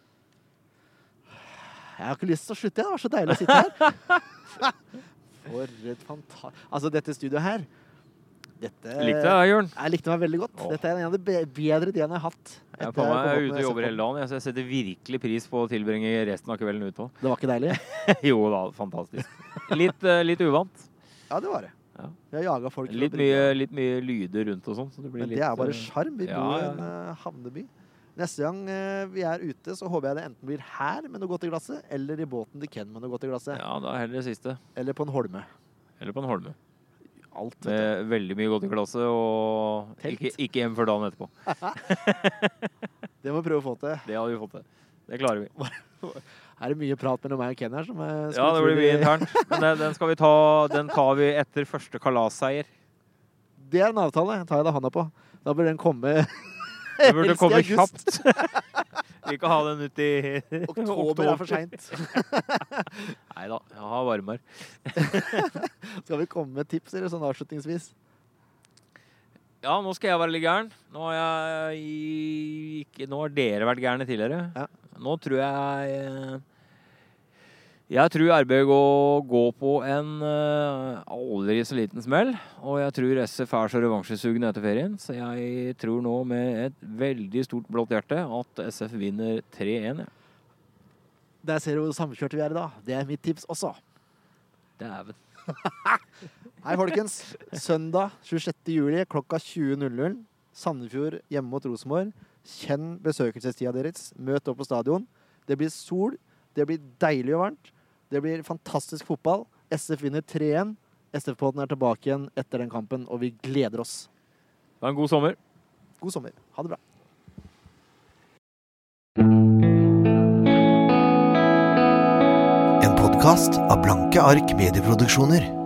Speaker 1: Jeg har ikke lyst til å slutte, jeg. Det var så deilig å sitte her. For et fantastisk Altså, dette studioet her Dette
Speaker 2: Likte jeg, Jørn.
Speaker 1: Jeg likte meg veldig godt.
Speaker 2: Åh.
Speaker 1: Dette er en av de be- bedre ideene jeg har hatt.
Speaker 2: Jeg er,
Speaker 1: etter
Speaker 2: faen meg, jeg
Speaker 1: kom opp
Speaker 2: er ute
Speaker 1: med
Speaker 2: og jobber
Speaker 1: SFO.
Speaker 2: hele dagen. Jeg- så Jeg setter virkelig pris på å tilbringe resten av kvelden ut på.
Speaker 1: Det var ikke deilig?
Speaker 2: jo da, fantastisk. Litt, eh, litt uvant.
Speaker 1: Ja, det var det.
Speaker 2: Ja.
Speaker 1: Vi har jaga folk. til å
Speaker 2: Litt
Speaker 1: drikke.
Speaker 2: mye, litt mye lyder rundt og sånn. Så det blir
Speaker 1: Men
Speaker 2: litt
Speaker 1: det er bare
Speaker 2: eh,
Speaker 1: sjarm. Vi
Speaker 2: ja,
Speaker 1: bor i
Speaker 2: ja.
Speaker 1: en eh, havneby. Neste gang eh, vi er ute, så håper jeg det enten blir her med noe godt i glasset, eller i båten til Ken med noe godt i glasset.
Speaker 2: Ja, da heller det siste.
Speaker 1: Eller på en holme.
Speaker 2: Eller på en holme.
Speaker 1: Alt. vet du.
Speaker 2: Med veldig mye godt i glasset og
Speaker 1: Telt.
Speaker 2: ikke, ikke hjem før dagen etterpå.
Speaker 1: Det må vi prøve å få til.
Speaker 2: Det hadde vi fått til. Det klarer vi.
Speaker 1: er det mye prat mellom meg og Ken her som eh,
Speaker 2: Ja,
Speaker 1: skulle
Speaker 2: det
Speaker 1: tro
Speaker 2: blir mye
Speaker 1: vi-
Speaker 2: internt. Men den, den skal vi ta Den tar vi etter første kalasseier.
Speaker 1: Det er en avtale. Tar jeg da handa på. Da bør den komme
Speaker 2: Det burde
Speaker 1: Helst i
Speaker 2: komme
Speaker 1: august.
Speaker 2: kjapt. Vi kan ha den ut i
Speaker 1: Oktober er for seint.
Speaker 2: Nei da, jeg har varmer.
Speaker 1: Skal vi komme med tips eller sånn avslutningsvis?
Speaker 2: Ja, nå skal jeg være litt gæren. Nå har, jeg ikke, nå har dere vært gærne tidligere.
Speaker 1: Ja.
Speaker 2: Nå tror jeg eh, Jeg tror RB går, går på en eh, aldri så liten smell. Og jeg tror SF er så revansjesugne etter ferien, så jeg tror nå med et veldig stort blått hjerte at SF vinner 3-1. ja.
Speaker 1: Der ser du hvor samkjørte vi er i dag. Det er mitt tips også.
Speaker 2: Dæven.
Speaker 1: Hei, folkens. Søndag 26. juli klokka 20.00. Sandefjord hjemme mot Rosenborg. Kjenn besøkelsestida deres. Møt opp på stadion. Det blir sol. Det blir deilig og varmt. Det blir fantastisk fotball. SF vinner 3-1. SF-podden er tilbake igjen etter den kampen, og vi gleder oss.
Speaker 2: Det var en god sommer.
Speaker 1: God sommer. Ha det bra.
Speaker 5: En podkast av Blanke ark medieproduksjoner.